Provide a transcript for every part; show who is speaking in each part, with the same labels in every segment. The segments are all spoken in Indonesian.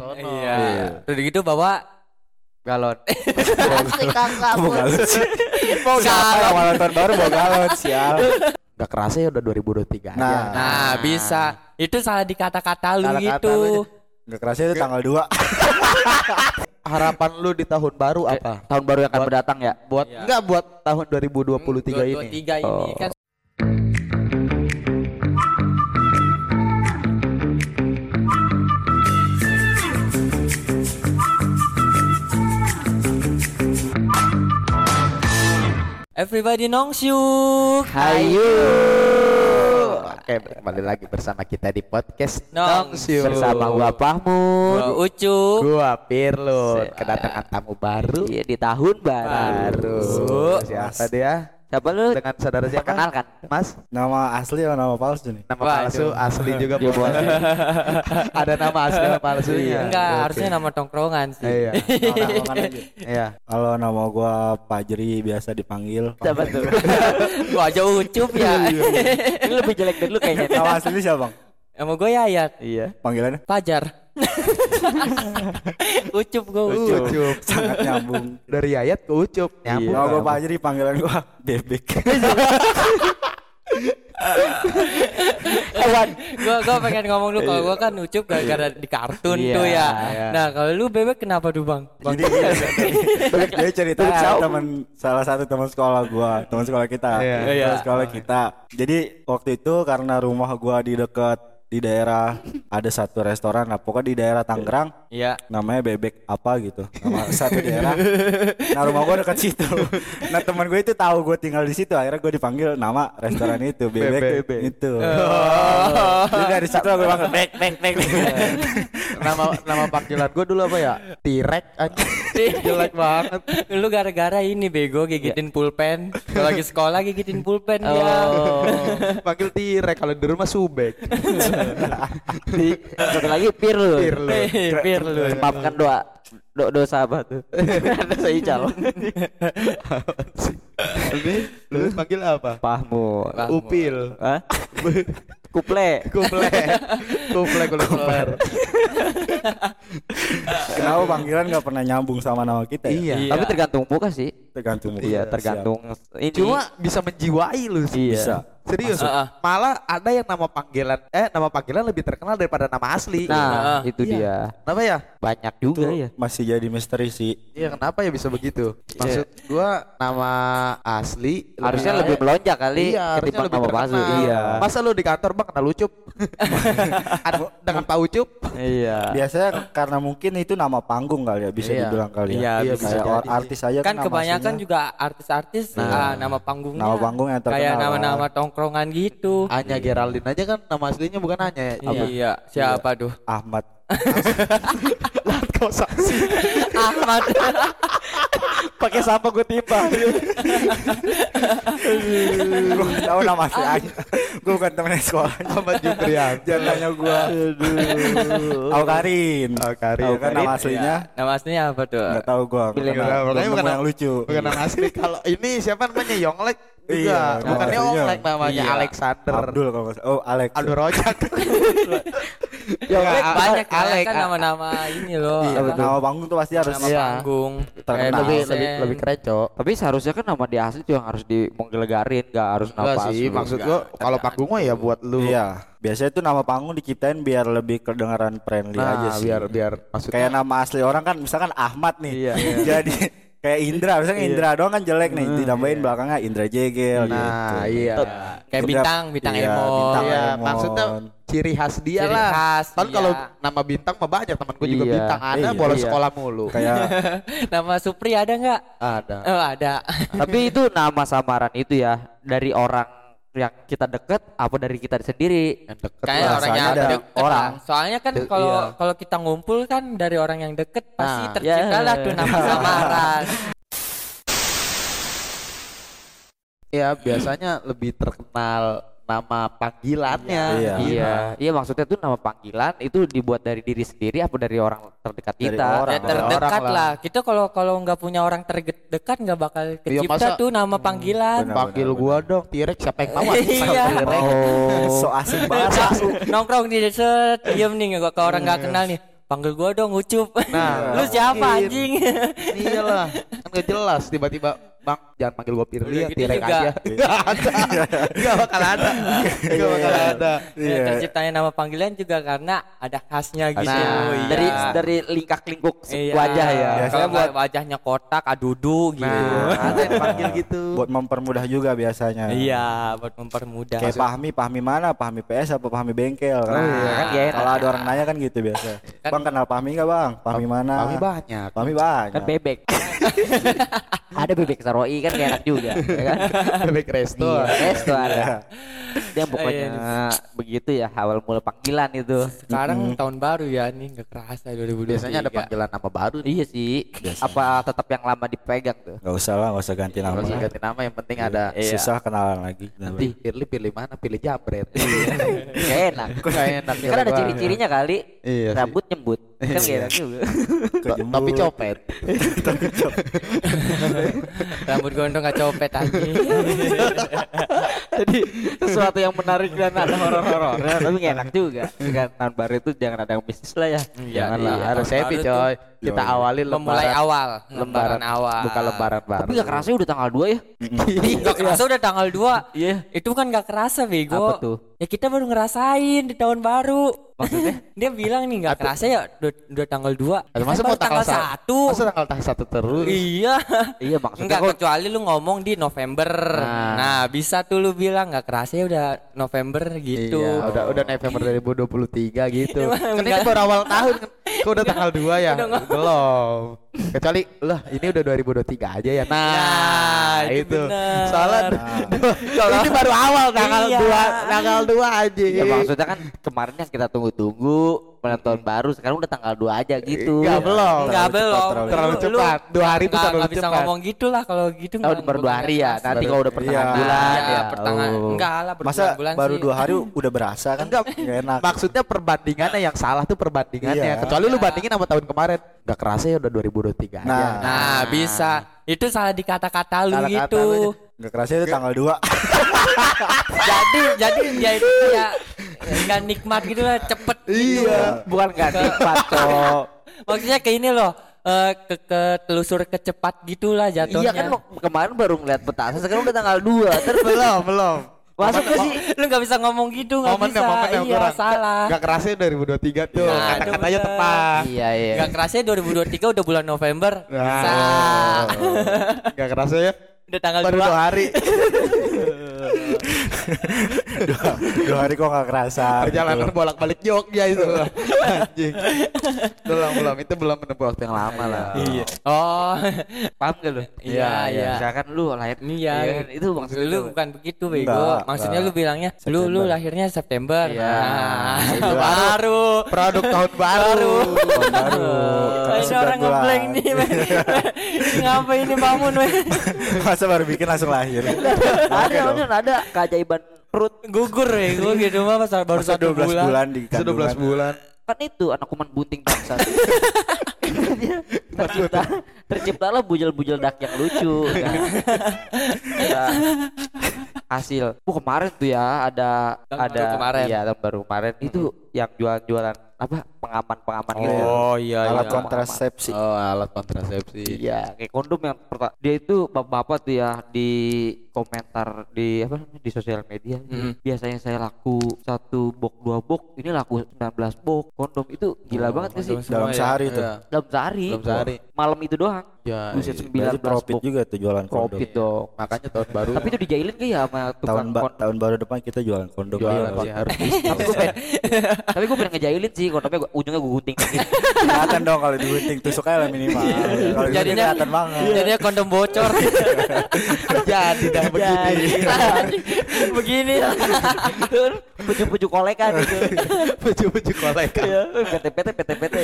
Speaker 1: sono.
Speaker 2: Iya.
Speaker 3: Iya.
Speaker 2: Udah gitu bawa galon.
Speaker 1: Asli kakak.
Speaker 3: Mau galon sih. Mau
Speaker 2: galon.
Speaker 3: galon. Mau nonton baru mau galon sial. Udah kerasa ya udah 2023 aja.
Speaker 4: Nah.
Speaker 2: Nah, bisa. Itu salah di kata-kata lu
Speaker 4: Salah kata
Speaker 2: gitu.
Speaker 4: lu aja. Gak kerasa itu tanggal 2
Speaker 3: Harapan lu di tahun baru apa?
Speaker 1: Tahun baru yang akan mendatang ya.
Speaker 3: Buat
Speaker 2: Iya. Hmm,
Speaker 3: enggak buat tahun 2023 ini.
Speaker 2: 23 ini
Speaker 3: Oh.
Speaker 2: kan Everybody nongsyuk.
Speaker 1: Hayu.
Speaker 3: Oke, kembali lagi bersama kita di podcast
Speaker 2: Nongsyuk.
Speaker 3: bersama gua Pahmun,
Speaker 2: Gua Ucup.
Speaker 3: gua Pirlo, kedatangan tamu baru.
Speaker 1: Iya di tahun baru.
Speaker 3: Baru. Siapa dia?
Speaker 1: Siapa lu? Iya.
Speaker 3: Dengan saudara siapa?
Speaker 1: Perkenalkan.
Speaker 3: Mas,
Speaker 4: Nama asli atau nama palsu nih?
Speaker 3: nama
Speaker 2: Wah,
Speaker 3: palsu
Speaker 2: itu.
Speaker 3: asli juga boleh. Ada nama asli sama palsunya.
Speaker 2: Iya. Enggak,
Speaker 3: Oke.
Speaker 2: harusnya nama tongkrongan sih.
Speaker 3: Iya.
Speaker 4: Nama tongkrongan aja.
Speaker 3: Iya.
Speaker 4: Kalau nama gua Pajri biasa dipanggil
Speaker 1: Siapa tuh?
Speaker 2: Gua aja Ucup ya.
Speaker 3: Iya,
Speaker 1: Ini lebih jelek dari lu kayaknya.
Speaker 4: Nama asli siapa bang?
Speaker 2: Emang gue Yayat.
Speaker 3: Iya.
Speaker 4: Panggilannya?
Speaker 2: Pajar. Ucup gue Ucup.
Speaker 3: Ucup.
Speaker 4: Sangat nyambung
Speaker 3: Dari ayat ke ucup. Iya. Nyambung.
Speaker 4: Nama gua Pajri panggilan gua Bebek
Speaker 2: Gua gua pengen ngomong lu kalau gua kan Ucup gara-gara di kartun tuh ya.
Speaker 3: Iya, iya.
Speaker 2: Nah, kalau lu bebek kenapa tuh, Bang? Bang
Speaker 4: Jadi dia cerita ada teman salah satu teman sekolah gua, teman sekolah kita,
Speaker 3: Iya.
Speaker 4: teman sekolah kita. Jadi waktu itu karena rumah gua di dekat di daerah ada satu restoran lah pokoknya di daerah Tangerang
Speaker 2: Iya.
Speaker 4: namanya bebek apa gitu nama satu daerah nah rumah gue dekat situ nah teman gue itu tahu gue tinggal di situ akhirnya gue dipanggil nama restoran itu bebek,
Speaker 3: Bebek.
Speaker 4: itu jadi dari situ gue panggil bebek
Speaker 2: Bek bek bek.
Speaker 3: nama nama panggilan gue dulu apa ya? Tirek anjing. Jelek banget.
Speaker 2: Lu gara-gara ini bego
Speaker 1: Iya.
Speaker 2: gigitin pulpen. Kalau lagi sekolah gigitin pulpen ya.
Speaker 3: Oh. Panggil Tirek kalau di rumah Subek.
Speaker 1: Satu lagi pir lu.
Speaker 3: Pirlo.
Speaker 2: Eh, Pir lu.
Speaker 3: kan.
Speaker 1: Maafkan doa do dosa apa tuh? dosa ical.
Speaker 3: Ini lu panggil apa?
Speaker 1: Pahmu.
Speaker 2: Pahmu.
Speaker 3: Upil.
Speaker 1: Hah? Kuple.
Speaker 3: Kuplek. Kuplek kulit kembar.
Speaker 4: kenapa panggilan gak pernah nyambung sama nama kita ya?
Speaker 3: Iya.
Speaker 2: Iya.
Speaker 1: Tapi tergantung muka sih.
Speaker 4: tergantung muka.
Speaker 1: Iya, tergantung ini.
Speaker 3: Cuma bisa menjiwai lu sih.
Speaker 1: Iya.
Speaker 4: Bisa.
Speaker 3: Serius.
Speaker 2: Heeh.
Speaker 3: Malah ada yang nama panggilan eh nama panggilan lebih terkenal daripada nama asli.
Speaker 2: Iya.
Speaker 1: Nah, itu dia.
Speaker 3: Kenapa ya?
Speaker 1: Banyak
Speaker 4: Siap. itu
Speaker 1: juga ya.
Speaker 4: masih jadi misteri sih
Speaker 3: Iya kenapa ya bisa begitu? Maksud gua nama asli
Speaker 1: Harusnya lebih melonjak kali
Speaker 3: Iya, harusnya
Speaker 1: ketimbang
Speaker 3: lebih
Speaker 1: nama palsu.
Speaker 3: terkenal.
Speaker 1: Iya.
Speaker 3: Masa lu di kantor bang kenal Ucup? Ada dengan Pak Ucup?
Speaker 1: Iya.
Speaker 4: biasanya karena mungkin itu nama panggung kali ya bisa
Speaker 3: Iya.
Speaker 4: dibilang kali
Speaker 2: Iya,
Speaker 4: ya
Speaker 3: bisa
Speaker 4: kayak
Speaker 3: jadi
Speaker 4: or-
Speaker 3: sih.
Speaker 4: artis aja
Speaker 2: Kan
Speaker 4: nama
Speaker 2: kebanyakan
Speaker 4: aslinya.
Speaker 2: juga artis-artis ah, nama panggungnya.
Speaker 4: Nama panggung yang
Speaker 2: Kayak
Speaker 4: terkenal.
Speaker 2: nama-nama tongkrongan gitu.
Speaker 3: Anya Geraldine aja kan nama aslinya bukan Anya ya?
Speaker 2: Iya, siapa tuh?
Speaker 4: Ahmad
Speaker 3: Kau saksi.
Speaker 2: Ahmad.
Speaker 3: Pakai siapa gue timpah?
Speaker 4: gue gak tahu nama asli aja gue bukan temennya sekolah
Speaker 3: Ahmad Jubrian.
Speaker 4: jangan tanya gue Al Karin
Speaker 3: Al Karin. Iya.
Speaker 4: Al Karin nama aslinya
Speaker 2: Nama aslinya apa tuh?
Speaker 4: nggak tahu gue
Speaker 3: Pilih nggak,
Speaker 4: belum
Speaker 3: makanya
Speaker 4: nemu
Speaker 3: bukan
Speaker 4: yang
Speaker 3: nama-
Speaker 4: lucu
Speaker 3: Bukan nama asli. Kalau ini siapa namanya Yonglek
Speaker 4: Iya,
Speaker 3: juga.
Speaker 4: nama
Speaker 3: Bukannya
Speaker 4: aslinya.
Speaker 3: Yonglek namanya
Speaker 2: Iya.
Speaker 3: Alexander.
Speaker 4: Abdul kalau nggak salah. oh Alex
Speaker 3: Aduh rojak.
Speaker 2: Banyak,
Speaker 3: Nggak,
Speaker 2: banyak
Speaker 3: Ah, Alek,
Speaker 2: Alek, kan
Speaker 3: Alek.
Speaker 2: nama-nama ini loh.
Speaker 4: Iya,
Speaker 2: apa,
Speaker 4: nama panggung tuh pasti harus
Speaker 2: nama
Speaker 3: Iya.
Speaker 2: panggung.
Speaker 4: Terkenal.
Speaker 2: Kayak
Speaker 3: lebih
Speaker 2: Bang
Speaker 3: lebih
Speaker 2: Sen.
Speaker 3: lebih keren cok
Speaker 1: Tapi seharusnya kan nama dia asli tuh yang harus dimenggelgarin, enggak harus nama
Speaker 3: Enggak sih
Speaker 1: palsu.
Speaker 3: maksud gua kalau panggung mah ya buat lu
Speaker 4: iya biasanya tuh nama panggung diciptain biar lebih kedengaran friendly aja
Speaker 3: nah
Speaker 4: sih
Speaker 3: biar biar maksudnya
Speaker 4: kayak nama asli orang kan misalkan Ahmad nih
Speaker 3: Iya.
Speaker 4: jadi kayak Indra misalnya Indra doang kan jelek nih ditambahin belakangnya Indra Jegel
Speaker 3: Hmm. Iya. nah
Speaker 4: gitu.
Speaker 3: iya
Speaker 2: Kayak
Speaker 4: Udah-
Speaker 2: bintang, bintang
Speaker 4: iya,
Speaker 2: emo.
Speaker 4: bintang.
Speaker 3: iya
Speaker 4: Emon.
Speaker 3: maksudnya ciri khas dia
Speaker 2: Ciri
Speaker 3: lah
Speaker 2: khas,
Speaker 3: kan
Speaker 2: iya.
Speaker 3: kalau nama bintang mah banyak temen gua juga
Speaker 1: Iya.
Speaker 3: bintang ada
Speaker 4: Iya.
Speaker 3: bolos
Speaker 1: Iya.
Speaker 3: sekolah mulu
Speaker 4: kayak
Speaker 2: Nama Supri ada nggak?
Speaker 3: ada
Speaker 2: Oh, ada.
Speaker 1: Tapi itu nama samaran itu ya dari orang yang kita deket apa dari kita sendiri?
Speaker 3: yang deket
Speaker 2: Kayak
Speaker 3: lah.
Speaker 2: orang yang
Speaker 4: rasanya ada
Speaker 2: deket lah.
Speaker 4: orang.
Speaker 2: Soalnya kan
Speaker 3: De-
Speaker 2: kalau
Speaker 3: iya.
Speaker 2: kalau kita ngumpul kan dari orang yang deket pasti
Speaker 3: Nah,
Speaker 2: tercipta
Speaker 1: iya.
Speaker 2: lah tuh nama samaran.
Speaker 3: ya biasanya lebih terkenal nama panggilannya
Speaker 4: Iya.
Speaker 1: Iya, iya maksudnya tuh nama panggilan itu dibuat dari diri sendiri apa dari orang terdekat
Speaker 4: Dari
Speaker 1: kita? Iya.
Speaker 4: orang.
Speaker 2: Ya
Speaker 4: Orang
Speaker 2: terdekat
Speaker 3: lah.
Speaker 2: lah. Kita kalau kalau nggak punya orang terdekat nggak bakal
Speaker 3: masa-
Speaker 2: kecipta tuh nama panggilan.
Speaker 4: Benar,
Speaker 3: panggil
Speaker 4: benar,
Speaker 3: gua dong T-Rex siapa yang mau
Speaker 2: Iya.
Speaker 4: Oh. so asik banget
Speaker 2: Nongkrong di set, diem nih nggak ke orang nggak kenal nih. panggil gua dong ucup
Speaker 3: Nah,
Speaker 2: lu siapa
Speaker 3: mungkin.
Speaker 2: anjing
Speaker 3: Iyalah, kan gak jelas tiba-tiba Bang, jangan panggil gua Pirli
Speaker 2: Udah
Speaker 3: ya,
Speaker 2: gitu
Speaker 3: tirek
Speaker 2: juga.
Speaker 3: aja. Gak ada. Gak bakal ada. Gak bakal ada.
Speaker 2: Ya, terciptanya nama panggilan juga karena ada khasnya gitu
Speaker 3: Nah,
Speaker 2: iya.
Speaker 1: dari dari lingkak lingkuk
Speaker 2: Iya.
Speaker 1: wajah ya
Speaker 4: Biasanya
Speaker 2: kalau
Speaker 4: buat-
Speaker 2: buat wajahnya kotak adudu gitu
Speaker 3: Nah, ada yang panggil gitu.
Speaker 4: buat mempermudah juga biasanya.
Speaker 2: iya buat mempermudah
Speaker 4: Nah. Kayak Pahmi, Pahmi mana? Pahmi PS apa Pahmi bengkel? Kan?
Speaker 1: iya, kan iya.
Speaker 4: Kalau ada orang nanya kan gitu biasa.
Speaker 2: Kan-
Speaker 4: bang kenal Pahmi nggak bang? Pahmi mana?
Speaker 3: Kami banyak.
Speaker 4: Pahmi banyak.
Speaker 1: kan bebek ada bebek saroi kan kayak enak juga ya kan
Speaker 3: Bebek resto.
Speaker 1: Iya, es tuh ada.
Speaker 4: Iya.
Speaker 1: Dia pokoknya begitu ya awal mula panggilan itu.
Speaker 2: sekarang tahun baru ya nih nggak kerasa 2023
Speaker 3: Biasanya ada panggilan nama baru nih.
Speaker 1: Iya sih. Apa tetap yang lama dipegang tuh?
Speaker 4: Gak usah lah, gak usah ganti nama. Iya.
Speaker 3: Kalau
Speaker 1: kan
Speaker 3: saya ganti nama yang penting ada
Speaker 1: Iya.
Speaker 4: Susah kenalan lagi.
Speaker 3: nanti Pirli pilih mana? Pilih jabret.
Speaker 1: Gak enak.
Speaker 3: Gak enak.
Speaker 1: Iya. Kan ada ciri-cirinya kali.
Speaker 3: Iya sih.
Speaker 1: Rambut nyembut. Kan gak enak juga.
Speaker 4: Kejembut.
Speaker 3: Tapi copet.
Speaker 2: rambut gondrong nggak copet anjing
Speaker 1: Jadi sesuatu yang menarik dan ada horor-horor. Nah, Tapi gak enak juga. Kan tahun baru itu jangan ada yang bisnis lah ya.
Speaker 2: Iya,
Speaker 3: Jangan
Speaker 2: iya.
Speaker 3: lah. Harus
Speaker 2: Tahun
Speaker 3: happy
Speaker 2: baru
Speaker 3: coy. Kita
Speaker 4: Yoi.
Speaker 3: awali
Speaker 2: memulai
Speaker 3: lembaran.
Speaker 2: awal
Speaker 3: Lembaran
Speaker 2: lembaran awal
Speaker 3: Bukan lembaran baru.
Speaker 1: Tapi gak kerasa udah tanggal 2 ya.
Speaker 2: Gak kerasa udah tanggal 2
Speaker 1: Iya.
Speaker 2: Itu kan gak kerasa bego
Speaker 1: Apa tuh?
Speaker 2: Ya kita baru ngerasain di tahun baru Maksudnya? Dia bilang nih gak kerasa ya udah, udah tanggal 2
Speaker 3: Aduh, Eh, masa mau tanggal, satu?
Speaker 2: 1
Speaker 3: Masa tanggal tanggal satu terus?
Speaker 2: Iya
Speaker 1: Iya maksudnya
Speaker 2: Enggak
Speaker 1: kok
Speaker 2: kecuali lu ngomong di November
Speaker 1: Nah.
Speaker 2: Nah, bisa tuh lu bilang gak kerasa ya udah November gitu
Speaker 3: Iya, udah udah November 2023 gitu.
Speaker 2: Emang
Speaker 3: kan ini
Speaker 2: enggak.
Speaker 3: baru awal tahun kan. Kok udah tanggal 2 ya?
Speaker 2: udah ngomong.
Speaker 3: Belum. Kecuali lah ini udah 2023 aja ya. Nah,
Speaker 2: Nah, itu
Speaker 3: itu.
Speaker 2: benar.
Speaker 3: Soalnya ini baru awal tanggal
Speaker 2: Iya.
Speaker 3: 2 tanggal 2 anjing.
Speaker 1: Ya maksudnya kan kemarin yang kita tunggu-tunggu malam tahun baru sekarang udah tanggal 2 aja gitu.
Speaker 3: Enggak belum.
Speaker 2: Enggak
Speaker 4: Terlalu cepat,
Speaker 2: belum
Speaker 4: terlalu
Speaker 3: Terlalu
Speaker 2: Lu-
Speaker 3: cepat. Dua hari itu
Speaker 2: Nggak-
Speaker 3: terlalu
Speaker 2: nggak bisa
Speaker 3: cepat.
Speaker 2: ngomong gitu lah kalau gitu
Speaker 1: Oh,
Speaker 2: nggak-
Speaker 1: baru dua
Speaker 2: nggak
Speaker 1: hari ya.
Speaker 2: kerasa.
Speaker 1: Nanti
Speaker 4: Baru-
Speaker 1: kalau udah pertengahan
Speaker 4: iya.
Speaker 1: bulan
Speaker 2: ya,
Speaker 1: ya.
Speaker 2: pertengahan
Speaker 1: oh.
Speaker 2: enggak lah baru
Speaker 4: Masa
Speaker 2: bulan
Speaker 4: baru
Speaker 2: sih.
Speaker 4: dua hari udah berasa kan?
Speaker 3: Enggak.
Speaker 4: Nggak enak.
Speaker 3: Maksudnya perbandingannya yang salah tuh perbandingannya.
Speaker 4: Iya.
Speaker 3: Kecuali lu
Speaker 2: Iya.
Speaker 3: bandingin sama tahun kemarin. Enggak kerasa ya udah 2023 aja.
Speaker 4: Nah.
Speaker 2: Nah, bisa. Itu salah di kata-kata lu
Speaker 3: Salah kata
Speaker 2: gitu.
Speaker 3: lu.
Speaker 4: Gak kerasa itu tanggal 2
Speaker 2: jadi jadi ya itu ya nggak nikmat gitu lah, cepet
Speaker 4: iya.
Speaker 2: gitu.
Speaker 3: Iya.
Speaker 1: Bukan enggak nikmat kok.
Speaker 2: Maksudnya kayak ini loh, eh, ke, ke telusur kecepat gitulah jatuhnya.
Speaker 1: Iya kan lo kemarin baru ngeliat petasan sekarang udah tanggal 2 terus
Speaker 3: belum, belum.
Speaker 1: masuk ke sih
Speaker 2: lu nggak bisa ngomong gitu, nggak
Speaker 3: Momennya,
Speaker 2: bisa.
Speaker 3: momennya
Speaker 2: iya,
Speaker 3: kurang.
Speaker 2: salah.
Speaker 3: Gak kerasa ya 2023 tuh.
Speaker 2: Nah,
Speaker 4: Iya.
Speaker 2: itu
Speaker 3: Kata-katanya
Speaker 2: bener.
Speaker 3: tepat.
Speaker 1: Iya iya.
Speaker 2: Nggak kerasa ya, 2023 udah bulan November.
Speaker 3: Nah.
Speaker 2: Sa.
Speaker 3: Gak kerasa ya?
Speaker 2: Udah tanggal
Speaker 3: Baru
Speaker 2: 2.
Speaker 3: dua hari.
Speaker 4: Dua hari kok gak kerasa gitu.
Speaker 3: Perjalanan bolak-balik Jogja itu. Anjing. Belum, belum. Itu belum menempuh waktu yang lama lah.
Speaker 2: Iya. Oh.
Speaker 1: Paham gak lu?
Speaker 2: Iya, iya.
Speaker 1: Misalkan lu lahir
Speaker 2: Iya,
Speaker 1: kan? itu maksud
Speaker 2: lu
Speaker 1: lu.
Speaker 2: bukan begitu bego.
Speaker 4: Enggak,
Speaker 2: Maksudnya
Speaker 4: enggak.
Speaker 2: lu bilangnya lu lu
Speaker 4: September.
Speaker 2: lahirnya September.
Speaker 1: Iya.
Speaker 2: Nah, baru.
Speaker 3: Produk tahun baru.
Speaker 4: Tahun baru Karena
Speaker 2: Ini
Speaker 4: sembilan
Speaker 2: orang
Speaker 4: bulan.
Speaker 2: ngeblank nih. men. Ngapain ini bangun? men?
Speaker 4: Masa baru bikin langsung lahir
Speaker 1: Ada ada ada keajaiban perut
Speaker 2: Gugur bego gitu mah pas baru
Speaker 4: Masa
Speaker 2: satu
Speaker 4: 12 bulan,
Speaker 2: bulan. Iya.
Speaker 4: di
Speaker 3: Sudah 12
Speaker 4: kandungan
Speaker 3: bulan.
Speaker 1: kan itu anak kuman bunting bangsa. Dia tercipta terciptalah bujal-bujal dak yang lucu kan. Nah, hasil bu kemarin tuh ya ada
Speaker 2: Tahun
Speaker 1: ada
Speaker 2: baru kemarin. Hmm.
Speaker 1: iya tahun baru kemarin itu yang jualan-jualan apa pengaman-pengaman gitu ya.
Speaker 2: Oh iya.
Speaker 4: Alat
Speaker 2: iya.
Speaker 4: kontrasepsi
Speaker 3: Oh, alat kontrasepsi.
Speaker 1: Iya, kayak kondom yang pertama. Dia itu bapak-bapak tuh ya di komentar di apa namanya, di sosial media.
Speaker 2: Mm.
Speaker 1: Biasanya saya laku satu box dua box, ini laku 19 box kondom itu gila banget gak sih?
Speaker 2: kondom.
Speaker 4: Dalam
Speaker 2: Semua ya.
Speaker 4: sehari tuh
Speaker 3: Iya.
Speaker 1: Dalam sehari.
Speaker 3: Dalam sehari.
Speaker 1: Malam itu doang.
Speaker 3: Ya.
Speaker 1: Buset
Speaker 4: Berarti
Speaker 1: 19
Speaker 4: profit
Speaker 1: box.
Speaker 4: juga kan, tuh jualan kondom
Speaker 1: Profit dong.
Speaker 3: Makanya tahun baru.
Speaker 1: Tapi itu dijailin gak ya sama
Speaker 4: tahun,
Speaker 1: tukang
Speaker 4: ba-
Speaker 1: kondom?
Speaker 4: tahun baru depan kita jualan kondom
Speaker 3: jualan
Speaker 4: Iya,
Speaker 3: sih harus.
Speaker 1: Tapi gue pengen, tapi gue pengen ngejailin sih kondomnya gua, ujungnya gue gunting.
Speaker 4: kelihatan dong kalau digunting tusuknya lah minimal kalau digunting
Speaker 2: Jadinya Iya.
Speaker 4: kelihatan banget
Speaker 2: Jadinya kondom bocor.
Speaker 3: Jadi dah begini.
Speaker 2: Begini.
Speaker 1: Pucu-pucu kolekan itu.
Speaker 3: Bucu-bucu kolekan.
Speaker 1: Ya, PT-PT, PT-PT.